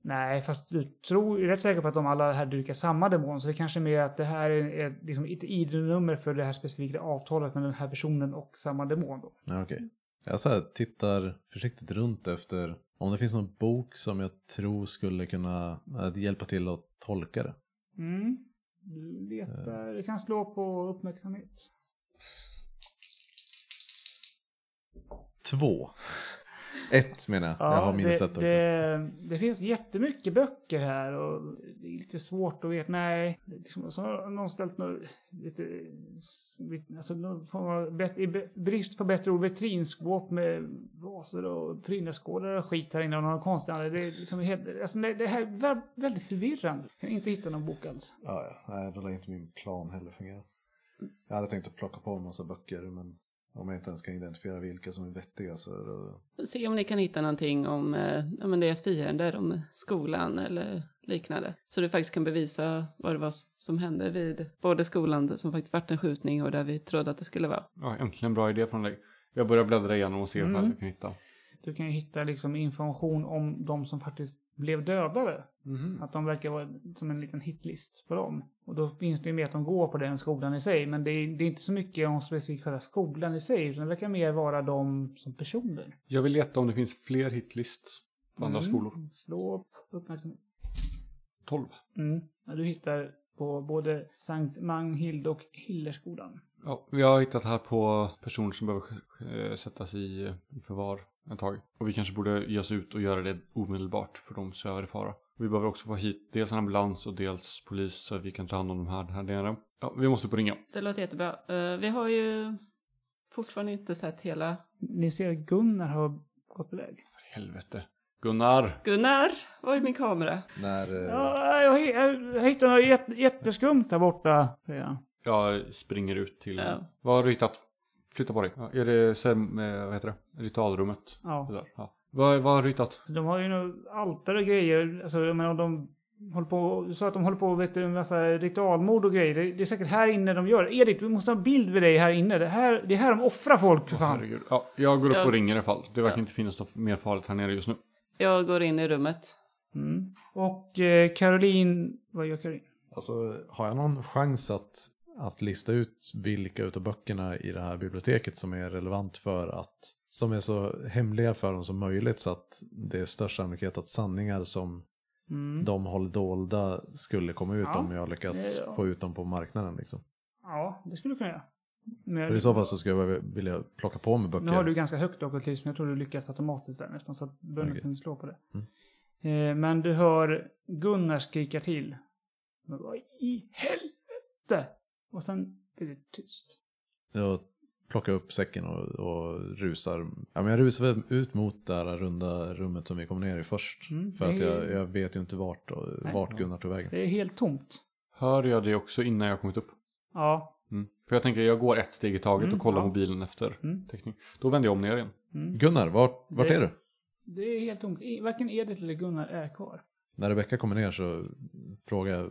[SPEAKER 3] Nej, fast du tror, är rätt säker på att de alla här dyrkar samma demon. Så det kanske är mer att det här är, är liksom ett ID-nummer för det här specifika avtalet med den här personen och samma demon. Då.
[SPEAKER 4] Ja, okej. Jag så här tittar försiktigt runt efter om det finns någon bok som jag tror skulle kunna eh, hjälpa till att tolka det.
[SPEAKER 3] Mm. Du
[SPEAKER 4] Eh.
[SPEAKER 3] letar, du kan slå på uppmärksamhet.
[SPEAKER 4] Två. Ett menar jag. jag har minus
[SPEAKER 3] det,
[SPEAKER 4] ett också.
[SPEAKER 3] Det, det finns jättemycket böcker här och det är lite svårt att veta. Nej, det är liksom, så har någon ställt något, lite, lite- alltså någon form av, bet- i be- brist på bättre ord, vitrinskåp med vaser och prydnadsskålar och skit här inne av någon konstnär. Det är liksom helt, alltså det, det här är vä- väldigt förvirrande. Jag kan inte hitta någon bok alls.
[SPEAKER 4] Ja, ja. Nej, då lär inte min plan heller fungera. Jag hade tänkt att plocka på en massa böcker, men om jag inte ens kan identifiera vilka som är vettiga så är det...
[SPEAKER 1] Se om ni kan hitta någonting om eh, ja, men deras fiender, om skolan eller liknande. Så du faktiskt kan bevisa vad det var s- som hände vid både skolan som faktiskt vart en skjutning och där vi trodde att det skulle vara.
[SPEAKER 2] Ja, äntligen bra idé från dig. Jag börjar bläddra igenom och se
[SPEAKER 3] Mm.
[SPEAKER 2] vad jag kan hitta.
[SPEAKER 3] Du kan ju hitta liksom information om de som faktiskt blev dödade.
[SPEAKER 2] Mhm.
[SPEAKER 3] Att de verkar vara som en liten hitlist på dem. Och då finns det ju mer att de går på den skolan i sig. Men det är, det är inte så mycket om specifikt själva skolan i sig. Utan det verkar mer vara de som personer.
[SPEAKER 2] Jag vill leta om det finns fler hitlist på andra
[SPEAKER 3] Mm.
[SPEAKER 2] skolor.
[SPEAKER 3] Slå upp uppmärksamhet.
[SPEAKER 2] 12.
[SPEAKER 3] Mm. Ja, du hittar på både Sankt Manghild och Hillerskolan.
[SPEAKER 2] Ja, vi har hittat här på personer som behöver eh, sättas i eh, i förvar ett tag. Och vi kanske borde ge oss ut och göra det omedelbart för de svävar i fara. Vi behöver också få hit dels en ambulans och dels polis så att vi kan ta hand om de här här nere. Ja, vi måste på ringa.
[SPEAKER 1] Det låter jättebra. Eh, vi har ju fortfarande inte sett hela
[SPEAKER 3] Ni ser att Gunnar har gått på väg.
[SPEAKER 2] För helvete. Gunnar!
[SPEAKER 1] Gunnar, var är min kamera?
[SPEAKER 4] När... eh,
[SPEAKER 3] Ja, jag, hi- jag, jag hittade något jätte, jätteskumt där borta. säger jag.
[SPEAKER 2] Jag springer ut till...
[SPEAKER 1] Ja.
[SPEAKER 2] Vad har du hittat? Flytta på dig. Ja, är det sem... eh, Vad heter det? Ritualrummet?
[SPEAKER 3] Ja.
[SPEAKER 2] Det där, Ja. Vad, vad har du hittat?
[SPEAKER 3] Så de har ju nog altare och grejer. Alltså, jag menar, de håller på, du sa att de håller på vet, du, med en massa ritualmord och grejer. Det, det är säkert här inne de gör. Edith, vi måste ha en bild med dig här inne. Det, här, det är här de offrar folk för fan.
[SPEAKER 2] Herregud. Ja, jag går upp
[SPEAKER 1] Jag-
[SPEAKER 2] och ringer i alla fall. Det verkar inte finnas något mer farligt här nere just nu.
[SPEAKER 1] Jag går in i rummet.
[SPEAKER 3] Mm. Och eh, Caroline, vad gör Caroline?
[SPEAKER 4] Alltså, har jag någon chans att, att lista ut vilka utav böckerna i det här biblioteket som är relevant för att... Som är så hemliga för dem som möjligt så att det är störst sannolikhet att sanningar som
[SPEAKER 3] Mm.
[SPEAKER 4] de håller dolda skulle komma ut
[SPEAKER 3] Ja.
[SPEAKER 4] om jag lyckas
[SPEAKER 3] Ja, ja.
[SPEAKER 4] få ut dem på marknaden liksom.
[SPEAKER 3] Ja, det skulle du kunna göra. Men-
[SPEAKER 4] För i så fall så skulle jag vilja plocka på mig böcker.
[SPEAKER 3] Nu har du ganska högt ockultism, jag tror du lyckas automatiskt där nästan. Så att du behöver
[SPEAKER 4] Okej. Mm.
[SPEAKER 3] inte slå på det. Eh, men du hör Gunnar skrika till. Men vad i helvete? Och sen blir det tyst.
[SPEAKER 4] Jag plockar upp säcken och, och rusar. Ja, men jag rusar väl ut mot det här runda rummet som vi kom ner i först.
[SPEAKER 3] Mm,
[SPEAKER 4] För att
[SPEAKER 3] det-
[SPEAKER 4] jag, jag vet ju inte vart, och-
[SPEAKER 3] Nej.
[SPEAKER 4] vart Gunnar tog vägen.
[SPEAKER 3] Det är helt tomt.
[SPEAKER 2] Hör jag det också innan jag kommit upp?
[SPEAKER 3] Ja.
[SPEAKER 2] Mm. För jag tänker, jag går ett steg i taget
[SPEAKER 3] Mm,
[SPEAKER 2] och kollar
[SPEAKER 3] ja.
[SPEAKER 2] mobilen efter
[SPEAKER 3] Mm.
[SPEAKER 2] täckning. Då vänder jag om ner igen.
[SPEAKER 3] Mm.
[SPEAKER 4] Gunnar, vart, vart
[SPEAKER 3] Det-
[SPEAKER 4] är du?
[SPEAKER 3] Det är helt tomt. I- Varken Edith eller Gunnar är kvar.
[SPEAKER 4] När Rebecka kommer ner så frågar jag,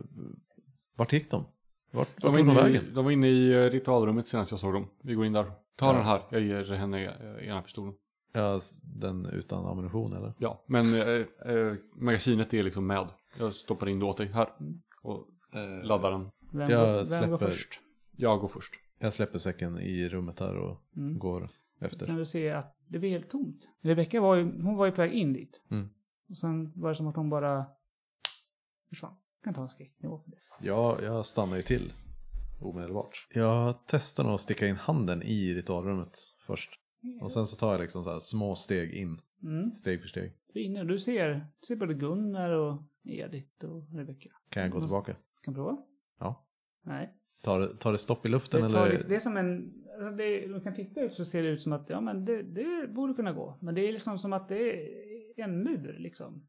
[SPEAKER 4] vart gick de? Vart,
[SPEAKER 2] De
[SPEAKER 4] vart
[SPEAKER 2] var,
[SPEAKER 4] tog de
[SPEAKER 2] inne i,
[SPEAKER 4] vägen?
[SPEAKER 2] de var inne i eh, ritualrummet senast jag såg dem. Vi går in där. Ta
[SPEAKER 4] Ja.
[SPEAKER 2] den här, jag ger henne eh, ena pistolen.
[SPEAKER 4] Ja, s- den utan ammunition eller?
[SPEAKER 2] Ja, men eh, eh, magasinet är liksom med. Jag stoppar in det åt dig här. Och eh, laddar den.
[SPEAKER 3] Vem,
[SPEAKER 4] Jag
[SPEAKER 3] går, vem går
[SPEAKER 4] släpper-
[SPEAKER 3] först?
[SPEAKER 2] Jag går först.
[SPEAKER 4] Jag släpper säcken i rummet här och
[SPEAKER 3] Mm.
[SPEAKER 4] går efter.
[SPEAKER 3] Kan du se att det blir helt tomt? Rebecka var ju, hon var ju på väg in dit.
[SPEAKER 4] Mm.
[SPEAKER 3] Och sen var det som att hon bara försvann. Jag kan ta en skräcknivå för det.
[SPEAKER 4] Ja, jag stannar ju till omedelbart. Jag testar nog att sticka in handen i ritualrummet först. Och sen så tar jag liksom så här små steg in,
[SPEAKER 3] Mm.
[SPEAKER 4] steg för steg.
[SPEAKER 3] Du är inne och du ser, du ser både Gunnar och Edith och Rebecca.
[SPEAKER 4] Kan
[SPEAKER 3] Mm.
[SPEAKER 4] jag gå tillbaka?
[SPEAKER 3] Kan prova?
[SPEAKER 4] Ja.
[SPEAKER 3] Nej.
[SPEAKER 4] Tar, det- tar det stopp i
[SPEAKER 3] Det,
[SPEAKER 4] luften
[SPEAKER 3] tar,
[SPEAKER 4] eller?
[SPEAKER 3] liksom- det är som en... Alltså det, man kan titta ut så ser det ut som att ja, men det, det borde kunna gå. Men det är liksom som att det är en mur liksom.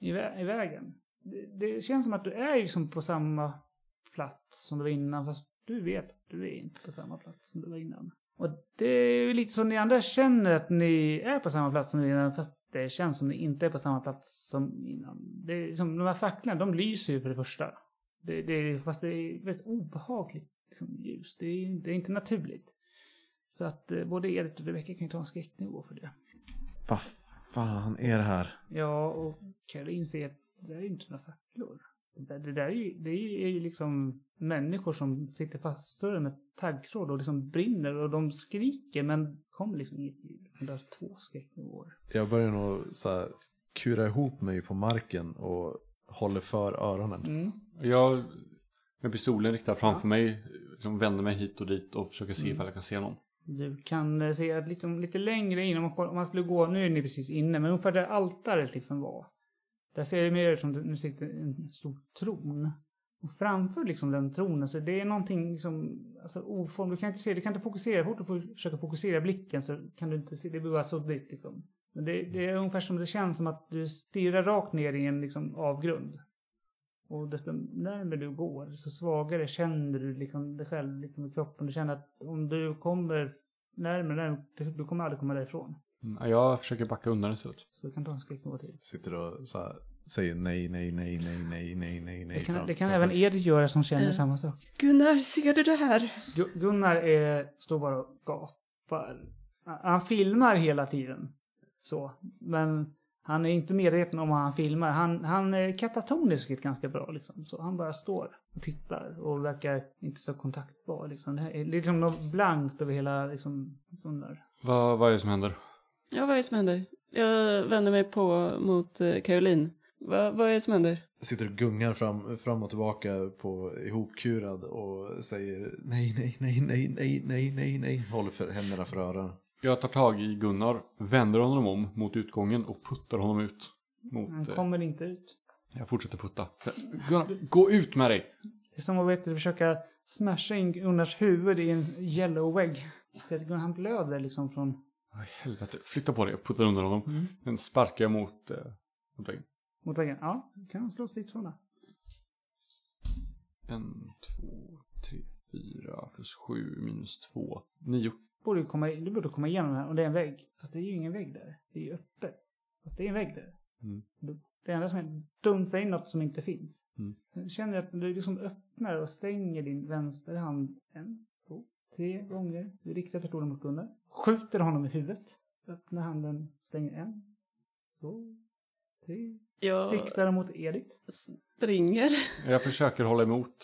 [SPEAKER 3] I, vä, i vägen. Det, det känns som att du är liksom på samma plats som du var innan. Fast du vet att du är inte på samma plats som du var innan. Och det är ju lite som ni andra känner att ni är på samma plats som innan. Fast det känns som ni inte är på samma plats som innan. Det är som de här facklorna, de lyser ju för det första. Det, det, är- fast det är väldigt obehagligt liksom, ljus. Det är, det är inte naturligt. Så att eh, både Edith och Rebecca kan ju ta en skräcknivå för det.
[SPEAKER 4] Vad fan är det här?
[SPEAKER 3] Ja, och Caroline säger att det där är ju inte några facklor. Det där, det där är, ju, det är, ju, är ju liksom människor som sitter faststörda med taggtråd och liksom brinner och de skriker men kommer liksom inget ljud. Det är två skräcknivåer.
[SPEAKER 4] Jag börjar nog så här, kura ihop mig på marken och håller för öronen.
[SPEAKER 3] Mm.
[SPEAKER 2] Jag, med pistolen riktad framför mig, liksom vänder mig hit och dit och försöker se
[SPEAKER 3] Mm.
[SPEAKER 2] ifall jag kan se någon.
[SPEAKER 3] Du kan eh, se att liksom, lite längre in, om man, koll- om man skulle gå, nu är ni precis inne, men ungefär där altaret liksom var. Där ser det mer ut som det, nu sitter en stor tron. Och framför liksom den tronen, så det är någonting liksom, alltså, oform. Du kan inte se, du kan inte fokusera. Fort du får- försöker fokusera blicken så kan du inte se, det blir bara suddigt liksom. Men det, det är ungefär som det känns som att du stirrar rakt ner i en liksom, avgrund. Och desto närmare du går, desto svagare känner du liksom dig själv liksom i kroppen. Du känner att om du kommer närmare, närmare du kommer aldrig komma därifrån.
[SPEAKER 2] Mm, Jag försöker backa undan istället.
[SPEAKER 3] Så du kan ta en skräcknivå till.
[SPEAKER 4] Sitter och så här, säger nej, nej, nej, nej, nej, nej, nej, nej.
[SPEAKER 3] Det kan,
[SPEAKER 4] fram-
[SPEAKER 3] det kan även er göra som känner
[SPEAKER 1] Mm.
[SPEAKER 3] samma sak.
[SPEAKER 1] Gunnar, ser du det här?
[SPEAKER 3] Gu- Gunnar är, står bara och gapar. Han- Han filmar hela tiden. Så. Men han är inte medveten om vad han filmar. Han, han är katatonisk ganska bra. Liksom. Så han bara står och tittar och verkar inte så kontaktbar. Liksom. Det, här är, det är liksom något blankt över hela liksom, Gunnar.
[SPEAKER 2] Vad, vad är det som händer?
[SPEAKER 1] Ja, vad är det som händer? Jag vänder mig på mot eh, Caroline. Va, vad är det som händer?
[SPEAKER 4] Sitter och gungar fram, fram och tillbaka på ihopkurad och säger nej, nej, nej, nej, nej, nej, nej, nej. Håller för, händerna för öronen.
[SPEAKER 2] Jag tar tag i Gunnar, vänder honom om mot utgången och puttar honom ut.
[SPEAKER 3] Han
[SPEAKER 2] Mot, eh,
[SPEAKER 3] kommer inte ut.
[SPEAKER 2] jag fortsätter putta. Gunnar, gå ut med dig!
[SPEAKER 3] Det är som att vet, du, försöka smasha in Gunnars huvud i en yellow vägg. Så att Gunnar, han blöder liksom från...
[SPEAKER 2] Åh, helvete, flytta på dig. Jag puttar undan honom.
[SPEAKER 3] Mm.
[SPEAKER 2] Den sparkar jag mot, eh, mot väggen.
[SPEAKER 3] Mot väggen. Ja, kan han slå siffrorna.
[SPEAKER 2] En, två, tre, fyra plus sju minus två. Nio.
[SPEAKER 3] Borde ju komma, du borde komma igenom den här och det är en vägg. Fast det är ju ingen vägg där. Det är ju öppet. Fast det är en vägg där.
[SPEAKER 2] Mm.
[SPEAKER 3] Du- Det enda som är dunsa in något som inte finns.
[SPEAKER 2] Mm.
[SPEAKER 3] Jag känner att du liksom öppnar och stänger din vänsterhand en, två, tre gånger. Du riktar pistolen mot Gunnar. Skjuter honom i huvudet. Öppnar handen, stänger en, två, tre.
[SPEAKER 1] Jag
[SPEAKER 3] Siktar mot Edith.
[SPEAKER 1] springer.
[SPEAKER 2] Jag försöker hålla emot.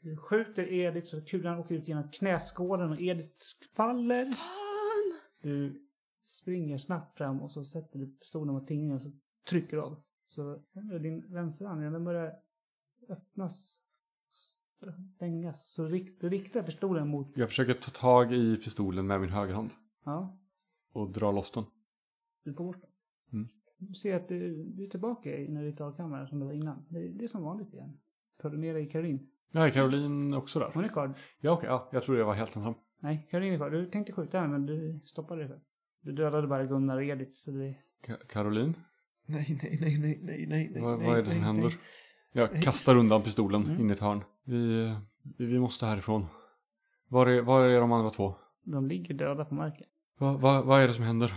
[SPEAKER 3] Du skjuter Edith så kulan åker ut genom knäskålen och Edith sk- faller.
[SPEAKER 1] Fan!
[SPEAKER 3] Du springer snabbt fram och så sätter du pistolen mot tinningen och så trycker du av. Så känner du din vänsterhand, ja, den börjar öppnas, stängas. Så rikt, du riktar pistolen mot...
[SPEAKER 2] Jag försöker ta tag i pistolen med min högerhand
[SPEAKER 3] Ja,
[SPEAKER 2] och dra loss den.
[SPEAKER 3] du får bort den.
[SPEAKER 2] Mm.
[SPEAKER 3] Du ser att du, du är tillbaka i när du tar kameran som du var innan. Det, det är som vanligt igen. Tar du med dig Caroline?
[SPEAKER 2] Ja, är Caroline också där?
[SPEAKER 3] Hon är kvar.
[SPEAKER 2] Ja, okej. ja, jag tror jag var helt ensam.
[SPEAKER 3] Nej, Caroline är kvar. Du tänkte skjuta henne men du stoppade dig själv. Du dödade bara Gunnar och Edith så det...
[SPEAKER 2] Ka- Caroline?
[SPEAKER 4] Nej, nej, nej, nej, nej, nej, nej.
[SPEAKER 2] vad,
[SPEAKER 4] nej,
[SPEAKER 2] vad är det
[SPEAKER 4] nej,
[SPEAKER 2] som händer?
[SPEAKER 4] nej.
[SPEAKER 2] Jag kastar undan pistolen
[SPEAKER 3] Mm.
[SPEAKER 2] in i ett hörn. Vi, eh, vi vi måste härifrån. Var är, var är de andra två?
[SPEAKER 3] De ligger döda på marken.
[SPEAKER 2] Va, va, vad är det som händer?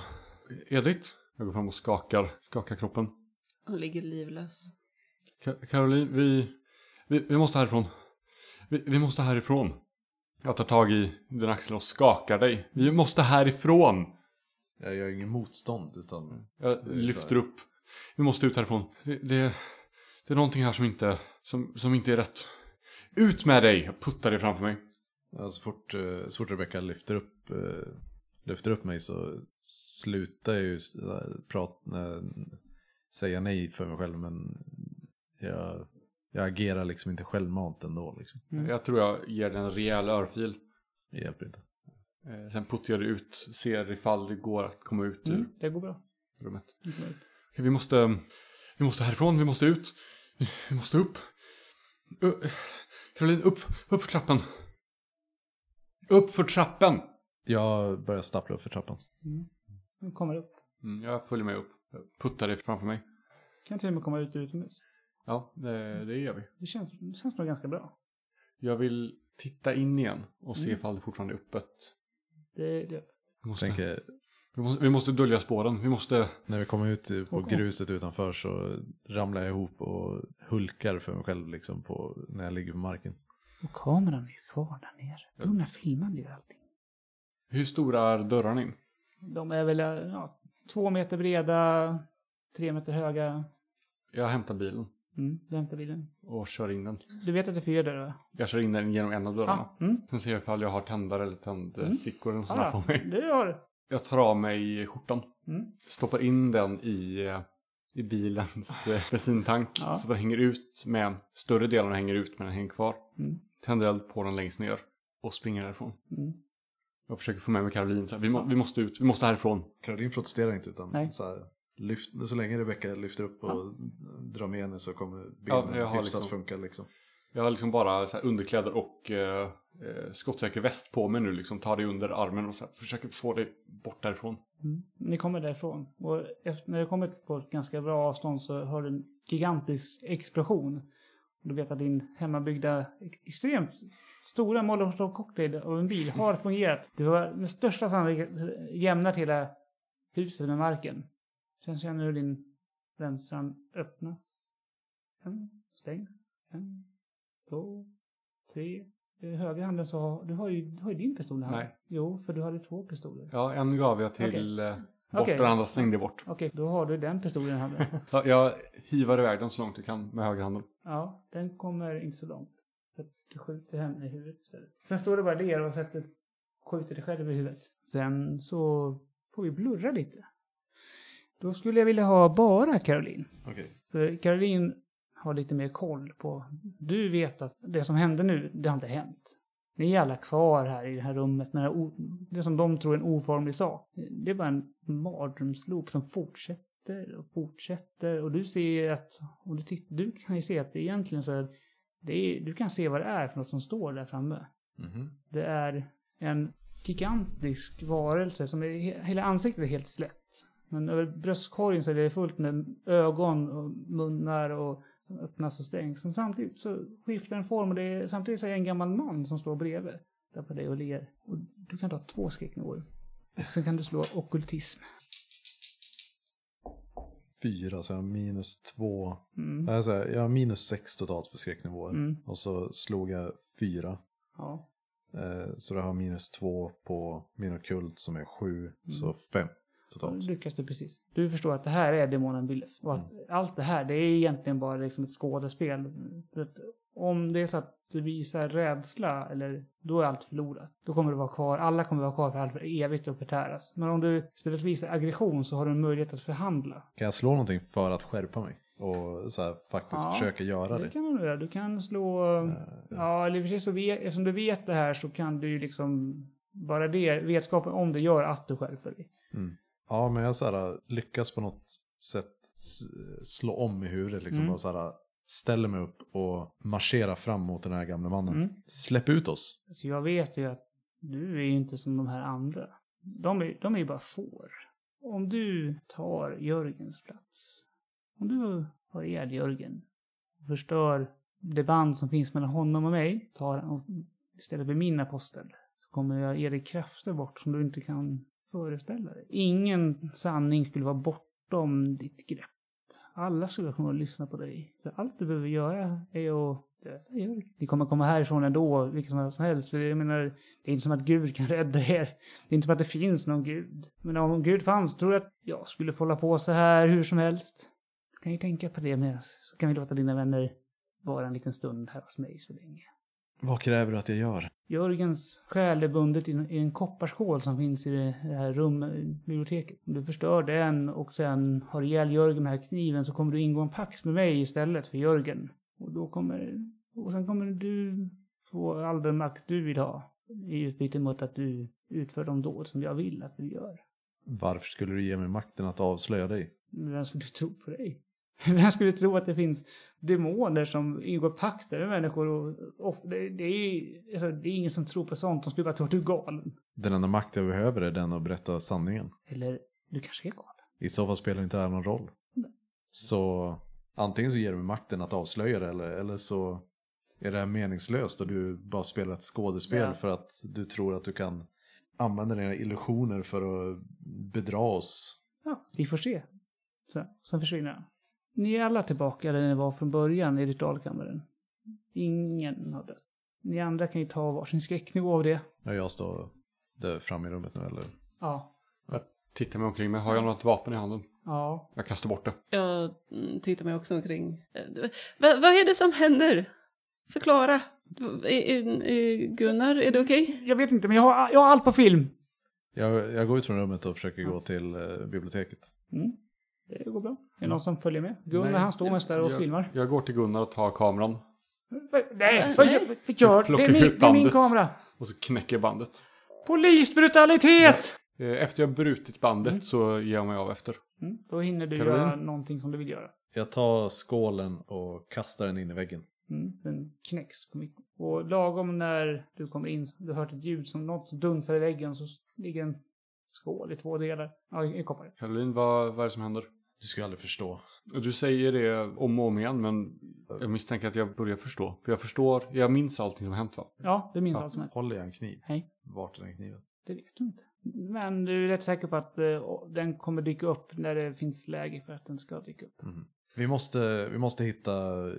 [SPEAKER 2] Edith? Jag går fram och skakar, skakar kroppen.
[SPEAKER 1] Hon ligger livlös.
[SPEAKER 2] Ka- Caroline, vi, vi, vi måste härifrån. Vi, vi måste härifrån. Jag tar tag i din axel och skakar dig. Vi måste härifrån!
[SPEAKER 4] Jag gör ingen motstånd utan
[SPEAKER 2] Jag
[SPEAKER 4] Det är
[SPEAKER 2] lyfter
[SPEAKER 4] så här.
[SPEAKER 2] upp. Vi måste ut härifrån. Det, det, det är någonting här som inte, som, som inte är rätt. Ut med dig! Jag puttar dig framför mig.
[SPEAKER 4] ja, så, fort, eh, så fort Rebecca lyfter upp, eh, lyfter upp mig så slutar jag ju s- eh, prata, eh, säga nej för mig själv men jag, jag agerar liksom inte självmant ändå. Liksom.
[SPEAKER 3] Mm.
[SPEAKER 2] Jag tror jag ger dig en rejäl örfil.
[SPEAKER 4] Det hjälper inte.
[SPEAKER 2] Eh, Sen puttar jag dig ut, ser ifall det går att komma ut ur
[SPEAKER 3] Mm, Det går bra.
[SPEAKER 2] rummet.
[SPEAKER 3] Det går bra.
[SPEAKER 2] Okej, vi måste, Vi måste härifrån, vi måste ut. Vi- Vi måste upp. Ö- Caroline, upp, upp för trappen. Upp för trappen!
[SPEAKER 4] Jag börjar stappla upp för trappan.
[SPEAKER 3] Hon kommer upp.
[SPEAKER 2] Mm, jag följer med upp. Jag Puttar dig framför mig.
[SPEAKER 3] Kan till och med komma ut utomhus.
[SPEAKER 2] Ja, det, det gör vi.
[SPEAKER 3] Det känns, det känns nog ganska bra.
[SPEAKER 2] Jag vill titta in igen och se
[SPEAKER 3] Mm.
[SPEAKER 2] ifall det fortfarande är öppet.
[SPEAKER 3] Det, det,
[SPEAKER 2] Vi måste,
[SPEAKER 4] Tänker,
[SPEAKER 2] vi måste, vi måste dölja spåren. Vi måste...
[SPEAKER 4] när vi kommer ut på
[SPEAKER 3] Åh, åh.
[SPEAKER 4] gruset utanför så ramlar jag ihop och hulkar för mig själv liksom på, när jag ligger på marken.
[SPEAKER 3] och kameran är ju kvar där nere. Gunnar filmade ju allting.
[SPEAKER 2] Hur stora är dörrarna in?
[SPEAKER 3] De är väl ja, två meter breda, tre meter höga.
[SPEAKER 2] Jag hämtar bilen
[SPEAKER 3] Mm, du hämtar bilen.
[SPEAKER 2] och kör in den.
[SPEAKER 3] Du vet att det är fyra dörrar? va?
[SPEAKER 2] Jag kör in den genom en av dörrarna.
[SPEAKER 3] Ah, mm.
[SPEAKER 2] Sen ser jag ifall jag har tändare eller tändstickor eller något sånt där
[SPEAKER 3] ah,
[SPEAKER 2] på mig.
[SPEAKER 3] det har du.
[SPEAKER 2] Jag tar av mig skjortan.
[SPEAKER 3] Mm.
[SPEAKER 2] Stoppar in den i, eh, i bilens eh, bensintank.
[SPEAKER 3] Ja.
[SPEAKER 2] Så den hänger ut med, större delen hänger ut men den hänger kvar.
[SPEAKER 3] Mm.
[SPEAKER 2] Tänder eld på den längst ner och springer därifrån.
[SPEAKER 3] Mm.
[SPEAKER 2] Jag försöker få med mig Caroline. Så här, vi, må, vi måste ut, vi måste härifrån.
[SPEAKER 4] Caroline protesterar inte utan
[SPEAKER 3] Nej.
[SPEAKER 4] så, här, lyft, så länge Rebecka lyfter upp och drar med henne så kommer benen
[SPEAKER 2] Ja, jag har
[SPEAKER 4] hyfsat
[SPEAKER 2] liksom-
[SPEAKER 4] funka liksom.
[SPEAKER 2] Jag har liksom bara så här underkläder och eh, eh, skottsäker väst på mig nu. Liksom tar det under armen och så här, försöker få det bort därifrån.
[SPEAKER 3] Mm. Ni kommer därifrån. Och efter, när du kommit på ett ganska bra avstånd så hör du en gigantisk explosion. Du vet att din hemmabyggda, extremt stora molotovcocktail av en bil har fungerat. Du har med största sannolikhet jämnat hela huset med marken. Sen känner du din vänstra öppnas. En, stängs. En, två, tre. I högra handen så har du har ju, du har ju din pistol i handen.
[SPEAKER 2] Nej.
[SPEAKER 3] Jo, för du hade två pistoler.
[SPEAKER 2] Ja, en gav jag till eh, bort
[SPEAKER 3] Okej.
[SPEAKER 2] den andra slängde jag bort.
[SPEAKER 3] Okej, då har du den pistolen i handen.
[SPEAKER 2] Ja, jag hivar iväg den så långt jag kan med högerhanden.
[SPEAKER 3] Ja, den kommer inte så långt. För att du skjuter henne i huvudet istället. Sen står du bara där och sätter, skjuter dig själv i huvudet. Sen så får vi blurra lite. Då skulle jag vilja ha bara Caroline.
[SPEAKER 4] Okej.
[SPEAKER 3] För Caroline har lite mer koll på... Du vet att det som hände nu, det har inte hänt. Ni är alla kvar här i det här rummet med det, här o, det som de tror är en oformlig sak. Det är bara en mardrömsloop som fortsätter och fortsätter. Och du ser att... Och du, titt, du kan ju se att det egentligen så är, det är... Du kan se vad det är för något som står där framme.
[SPEAKER 4] Mhm.
[SPEAKER 3] Det är en gigantisk varelse som är, he- hela ansiktet är helt slätt. Men över bröstkorgen så är det fullt med ögon och munnar och som öppnas och stängs. Men samtidigt så skiftar den form och det är, samtidigt så är det en gammal man som står bredvid. Där på dig och ler. Och du kan ta två skräcknivåer. Och sen kan du slå okkultism.
[SPEAKER 4] Fyra, så jag har minus två.
[SPEAKER 3] Mm.
[SPEAKER 4] Nej, så här, jag har minus sex totalt för skräcknivåer.
[SPEAKER 3] Mm.
[SPEAKER 4] Och så slog jag fyra.
[SPEAKER 3] Ja.
[SPEAKER 4] Eh, så det har minus två på min ockult som är sju.
[SPEAKER 3] Mm.
[SPEAKER 4] Så fem
[SPEAKER 3] Då
[SPEAKER 4] totalt.
[SPEAKER 3] Mm, lyckas du precis. Du förstår att det här är demonen Billef. Och att allt det här, det är egentligen bara liksom ett skådespel. För att om det är så att du visar rädsla, eller, då är allt förlorat. Då kommer du vara kvar, alla kommer vara kvar för allt för evigt och förtäras. Men om du istället visar aggression så har du en möjlighet att förhandla.
[SPEAKER 4] Kan jag slå någonting för att skärpa mig? Och så här, faktiskt
[SPEAKER 3] Ja,
[SPEAKER 4] försöka göra
[SPEAKER 3] Det
[SPEAKER 4] det?
[SPEAKER 3] kan du göra. Du kan slå... Ja, eller i och för sig så vet, eftersom du vet det här så kan du ju liksom... Bara det, vetskapen om det gör att du skärper dig.
[SPEAKER 4] Ja, men jag så här, lyckas på något sätt s- slå om i huvudet. Liksom,
[SPEAKER 3] Mm.
[SPEAKER 4] och så här, ställer mig upp och marscherar fram mot den här gamla mannen.
[SPEAKER 3] Mm.
[SPEAKER 4] Släpp ut oss!
[SPEAKER 3] Så jag vet ju att du är ju inte som de här andra. De är, de är ju bara får. Om du tar Jörgens plats. Om du har ihjäl Jörgen. Och förstör det band som finns mellan honom och mig. Tar och istället för min apostel. Så kommer jag ge dig krafter bort som du inte kan föreställa dig. Ingen sanning skulle vara bortom ditt grepp. Alla skulle komma och lyssna på dig. För allt du behöver göra är att döda Jörg. Ni kommer komma härifrån ändå, vilket som helst. För jag menar, det är inte som att Gud kan rädda er. Det är inte som att det finns någon Gud. Men om Gud fanns, tror du att jag skulle få hålla på så här hur som helst? Du kan ju tänka på det med oss. Så kan vi låta dina vänner vara en liten stund här hos mig så länge.
[SPEAKER 4] Vad kräver du att jag gör?
[SPEAKER 3] Jörgens själ är bundet i en, i en kopparskål som finns i det här rumbiblioteket. Om du förstör den och sen har ihjäl Jörgen med den här kniven så kommer du ingå en pakt med mig istället för Jörgen. Och då kommer... Och sen kommer du få all den makt du vill ha i utbyte mot att du utför de dåd som jag vill att du gör.
[SPEAKER 4] Varför skulle du ge mig makten att avslöja dig?
[SPEAKER 3] Vem skulle tro på dig? Vem skulle tro att det finns demoner som ingår pakter med människor? Och, och det, det, är, alltså, det är ingen som tror på sånt. De skulle bara tro att du är galen.
[SPEAKER 4] Den enda makt jag behöver är den att berätta sanningen.
[SPEAKER 3] Eller du kanske är galen.
[SPEAKER 4] I så fall spelar inte det här någon roll. Så antingen så ger du mig makten att avslöja det eller, eller så är det här meningslöst och du bara spelar ett skådespel
[SPEAKER 3] Ja.
[SPEAKER 4] för att du tror att du kan använda dina illusioner för att bedra oss.
[SPEAKER 3] Ja, vi får se. Så, sen försvinner han. Ni är alla tillbaka där ni var från början i ritualkammaren. Ingen har dött. Ni andra kan ju ta varsin skräcknivå av det.
[SPEAKER 4] Ja, jag står där framme i rummet nu eller?
[SPEAKER 3] Ja.
[SPEAKER 2] Jag tittar mig omkring mig. Har jag något vapen i handen?
[SPEAKER 3] Ja.
[SPEAKER 2] Jag kastar bort det.
[SPEAKER 1] Jag mm, tittar mig också omkring. Eh, va- Vad är det som händer? Förklara. Eh, eh, eh, Gunnar, är det okej?
[SPEAKER 3] Jag vet inte, men jag har, jag har allt på film.
[SPEAKER 4] Jag, jag går ut från rummet och försöker gå till eh, biblioteket.
[SPEAKER 3] Mm. Det går bra. Är det någon som följer med? Gunnar
[SPEAKER 2] Nej.
[SPEAKER 3] han står mest där och
[SPEAKER 2] jag,
[SPEAKER 3] filmar.
[SPEAKER 2] Jag går till Gunnar och tar kameran.
[SPEAKER 3] Nej, vad gör, vad gör? Det
[SPEAKER 2] Plocka
[SPEAKER 3] är min,
[SPEAKER 2] ut
[SPEAKER 3] det är min
[SPEAKER 2] bandet.
[SPEAKER 3] kamera.
[SPEAKER 2] Och så knäcker jag bandet.
[SPEAKER 3] Polisbrutalitet!
[SPEAKER 2] Eh, Efter jag brutit bandet så ger jag mig av efter.
[SPEAKER 3] Mm. Då hinner du
[SPEAKER 2] Caroline?
[SPEAKER 3] göra någonting som du vill göra.
[SPEAKER 4] Jag tar skålen och kastar den in i väggen.
[SPEAKER 3] Mm, den knäcks på mitten. Och lagom när du kommer in, du har hört ett ljud som något som dunsar i väggen, så ligger en skål i två delar. Ja, i i koppar.
[SPEAKER 2] Caroline, vad, vad är det som händer?
[SPEAKER 4] Du skulle aldrig förstå.
[SPEAKER 2] Och Du säger det om och om igen, men jag misstänker att jag börjar förstå. För jag förstår, jag minns allting som hänt va?
[SPEAKER 3] Ja, det minns
[SPEAKER 2] Ja.
[SPEAKER 3] allt som helst.
[SPEAKER 4] Håller jag en kniv?
[SPEAKER 3] Nej.
[SPEAKER 4] Vart är den kniven?
[SPEAKER 3] Det vet du inte. Men du är rätt säker på att eh, den kommer dyka upp när det finns läge för att den ska dyka upp.
[SPEAKER 4] Vi måste, vi måste hitta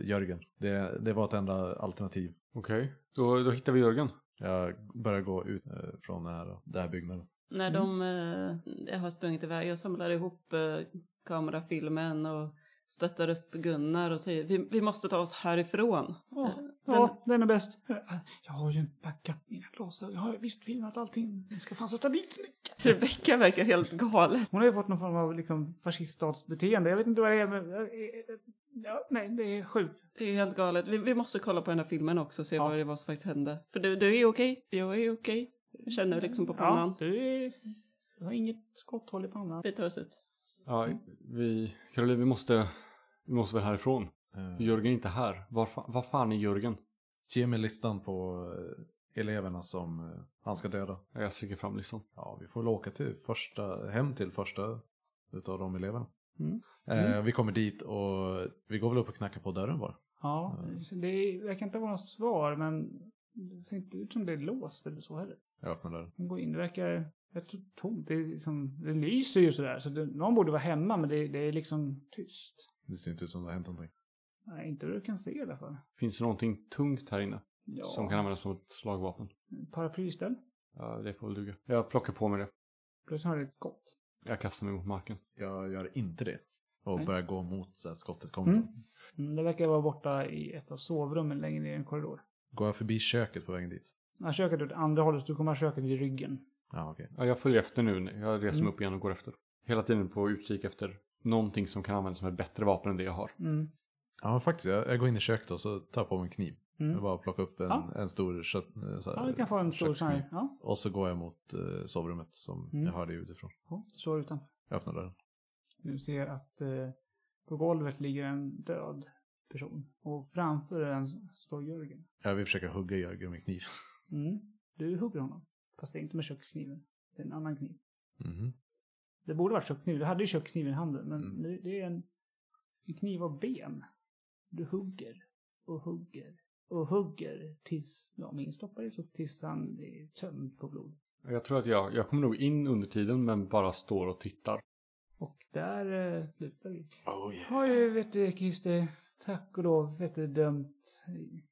[SPEAKER 4] Jörgen. Det, det var ett enda alternativ.
[SPEAKER 2] Okej, då, då hittar vi Jörgen.
[SPEAKER 4] Jag börjar gå ut eh, från den här, den här byggnaden.
[SPEAKER 1] När de eh, har sprungit iväg, jag samlar ihop eh, kamerafilmen och stöttar upp Gunnar och säger vi, vi måste ta oss härifrån.
[SPEAKER 3] Ja,
[SPEAKER 1] Eh,
[SPEAKER 3] ja, den är bäst. Jag har ju backat mina glasögon. Jag har ju visst filmat allting. Jag ska fan sätta dit mig.
[SPEAKER 1] Rebecka verkar helt galen.
[SPEAKER 3] Hon har ju fått någon form av liksom, fasciststatsbeteende. Jag vet inte vad det är, men... eh, eh, Ja, nej, det är sjukt.
[SPEAKER 1] Det är helt galet. Vi, vi måste kolla på den här filmen också och se
[SPEAKER 3] Ja.
[SPEAKER 1] vad det var som faktiskt hände. För du, du är okej, jag är okej. Jag Känner liksom på pannan.
[SPEAKER 3] Ja, du, är, du har inget skotthål i pannan.
[SPEAKER 1] Vi tar oss ut.
[SPEAKER 2] Ja, Mm. vi... Caroline, vi måste... Vi måste väl härifrån?
[SPEAKER 4] Eh,
[SPEAKER 2] Jörgen är inte här. Var, fa- var fan är Jörgen?
[SPEAKER 4] Ge mig listan på eh, eleverna som eh, han ska döda.
[SPEAKER 2] Ja, Jag sträcker fram listan.
[SPEAKER 4] Ja, vi får väl åka till första, hem till första utav de eleverna.
[SPEAKER 3] Mm.
[SPEAKER 4] Eh, Vi kommer dit och vi går väl upp och knackar på dörren bara.
[SPEAKER 3] Ja,
[SPEAKER 2] Mm.
[SPEAKER 3] så det verkar inte vara något svar, men det ser inte ut som det är låst eller så heller.
[SPEAKER 4] Jag öppnar dörren.
[SPEAKER 3] Hon går in, det verkar rätt så tomt. Det, är liksom, det lyser ju sådär, så det, någon borde vara hemma, men det, det är liksom tyst.
[SPEAKER 4] Det ser inte ut som det har hänt någonting.
[SPEAKER 3] Nej, inte vad du kan se i alla fall.
[SPEAKER 2] Finns det någonting tungt här inne?
[SPEAKER 3] Ja,
[SPEAKER 2] Som kan användas som ett slagvapen?
[SPEAKER 3] paraplyställ.
[SPEAKER 2] Ja, det får väl duga. Jag plockar på mig det.
[SPEAKER 3] Plus har det ett skott.
[SPEAKER 2] Jag kastar mig mot marken.
[SPEAKER 4] Jag gör inte det. Och
[SPEAKER 3] Nej.
[SPEAKER 4] börjar gå mot så att skottet kommer.
[SPEAKER 3] Mm. Mm, Det verkar vara borta i ett av sovrummen längre ner i en korridor.
[SPEAKER 4] Går jag förbi köket på vägen dit?
[SPEAKER 3] Ja, köket åt andra hållet, så du kommer ha köket i ryggen.
[SPEAKER 4] Ja, okej.
[SPEAKER 2] Ja, jag följer efter nu. Jag reser
[SPEAKER 3] Mm.
[SPEAKER 2] mig upp igen och går efter. Hela tiden på utkik efter någonting som kan användas som ett bättre vapen än det jag har.
[SPEAKER 3] Mm.
[SPEAKER 4] Ja, men faktiskt. Jag, jag går in i köket och så tar jag på mig en kniv.
[SPEAKER 3] Mm.
[SPEAKER 4] Jag bara plockar upp en,
[SPEAKER 3] Ja.
[SPEAKER 4] en stor kött... eh, Så här,
[SPEAKER 3] Ja, du kan få en stor sån här.
[SPEAKER 4] kökskniv.
[SPEAKER 3] Ja,
[SPEAKER 4] Och så går jag mot eh, sovrummet som
[SPEAKER 3] Mm.
[SPEAKER 4] jag hörde utifrån.
[SPEAKER 3] ja, du står utanför.
[SPEAKER 4] Jag öppnar dörren.
[SPEAKER 3] Du ser att eh, på golvet ligger en död person. Och framför den står Jörgen.
[SPEAKER 4] Jag vill försöka hugga Jörgen med kniv.
[SPEAKER 3] Mm. Du hugger honom. Fast det är inte med kökskniven. Det är en annan kniv.
[SPEAKER 4] Mhm.
[SPEAKER 3] Det borde varit kökskniv. Du hade ju kökskniven i handen. Men
[SPEAKER 4] Mm.
[SPEAKER 3] nu, det är en, en kniv av ben. Du hugger och hugger och hugger tills, ja min stoppar i så tills han är tömd på blod.
[SPEAKER 2] Jag tror att jag, jag kommer nog in under tiden men bara står och tittar.
[SPEAKER 3] Och där eh, slutar vi.
[SPEAKER 4] Oh yeah.
[SPEAKER 3] har ju, vet du, Christer, tack och lov, vet du, dömt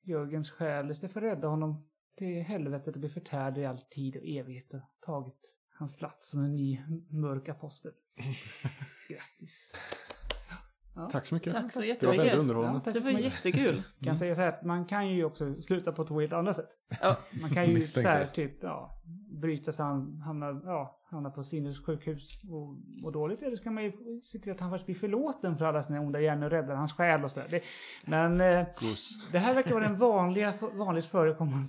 [SPEAKER 3] Jörgens själ istället för att rädda honom till helvetet och bli förtärd i all tid och evighet och tagit hans plats som en ny mörk apostel. Grattis. Ja.
[SPEAKER 2] Tack så mycket.
[SPEAKER 1] Tack så
[SPEAKER 2] Det var väldigt
[SPEAKER 1] jättemycket.
[SPEAKER 2] underhållande.
[SPEAKER 3] tack
[SPEAKER 1] Det
[SPEAKER 3] för
[SPEAKER 1] var
[SPEAKER 3] mig.
[SPEAKER 1] jättekul.
[SPEAKER 3] kan säga så här att man kan ju också sluta på två helt andra sätt.
[SPEAKER 1] Ja.
[SPEAKER 3] Man kan ju så
[SPEAKER 4] Misstänkte
[SPEAKER 3] här,
[SPEAKER 4] det.
[SPEAKER 3] typ, ja, bryta så han hamnar, ja, hamnar på sinnessjukhus och mår dåligt. Eller så kan man ju se till att han faktiskt blir förlåten för alla sina onda hjärnor och räddar hans själ och så där. Det, men eh,
[SPEAKER 2] Puss.
[SPEAKER 3] det här verkar vara den vanliga, vanligast förekommande.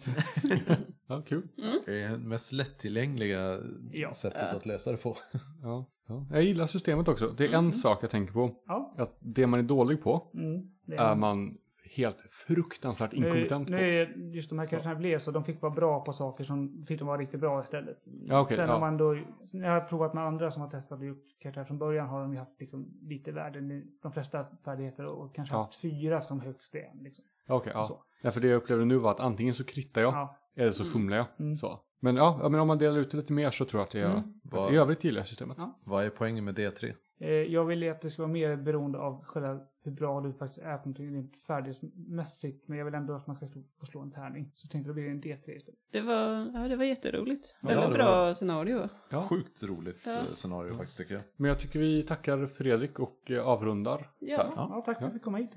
[SPEAKER 2] Ja, kul.
[SPEAKER 4] Det är det mest lättillgängliga
[SPEAKER 3] Ja. eh.
[SPEAKER 4] sättet att lösa det på.
[SPEAKER 2] Ja. Ja. Jag gillar systemet också. Det är en sak jag tänker på.
[SPEAKER 3] Ja.
[SPEAKER 2] Att det man är dålig på
[SPEAKER 3] Mm, det
[SPEAKER 2] är man helt fruktansvärt inkompetent
[SPEAKER 3] nu,
[SPEAKER 2] på.
[SPEAKER 3] nu är just de här karaktärerna blev så, de fick vara bra på saker som fick de vara riktigt bra istället.
[SPEAKER 2] Ja, okej,
[SPEAKER 3] Sen
[SPEAKER 2] ja.
[SPEAKER 3] har man då, jag har provat med andra som har testat och gjort karaktärer från början har de ju haft liksom lite värden i de flesta färdigheter och kanske
[SPEAKER 2] Ja.
[SPEAKER 3] haft fyra som högst igen. Liksom.
[SPEAKER 2] Ja, Okej,
[SPEAKER 3] Så.
[SPEAKER 2] ja. ja. För det jag upplevde nu var att antingen så kritar jag
[SPEAKER 3] Ja.
[SPEAKER 2] eller så fumlar jag.
[SPEAKER 3] Mm.
[SPEAKER 2] Så. Men ja, ja, men om man delar ut det lite mer så tror jag att det är...
[SPEAKER 3] Mm.
[SPEAKER 4] Vad-
[SPEAKER 2] I övrigt gillar jag systemet.
[SPEAKER 3] Ja.
[SPEAKER 4] Vad är poängen med D3?
[SPEAKER 3] Eh, Jag vill ju att det ska vara mer beroende av själva hur bra du faktiskt är på någonting rent färdighetsmässigt. Men jag vill ändå att man ska stå- få slå en tärning. Så tänkte jag då blir det en D3 istället.
[SPEAKER 1] Det var, ja, det var jätteroligt.
[SPEAKER 4] Ja,
[SPEAKER 1] Väldigt
[SPEAKER 4] det
[SPEAKER 1] bra
[SPEAKER 4] var-
[SPEAKER 1] scenario.
[SPEAKER 2] Ja.
[SPEAKER 4] Sjukt roligt
[SPEAKER 1] Ja.
[SPEAKER 4] eh, scenario faktiskt tycker jag.
[SPEAKER 2] Men jag tycker vi tackar Fredrik och eh, avrundar.
[SPEAKER 1] Ja.
[SPEAKER 3] Ja, tack för att vi kom hit.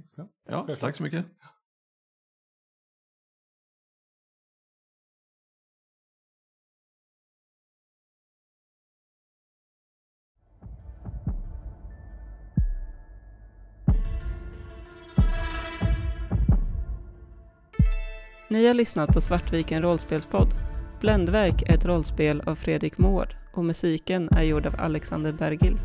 [SPEAKER 4] Ja, tack så mycket.
[SPEAKER 1] Ni har lyssnat på Svartviken rollspelspodd. Bländverk är ett rollspel av Fredrik Mård och musiken är gjord av Alexander Bergil.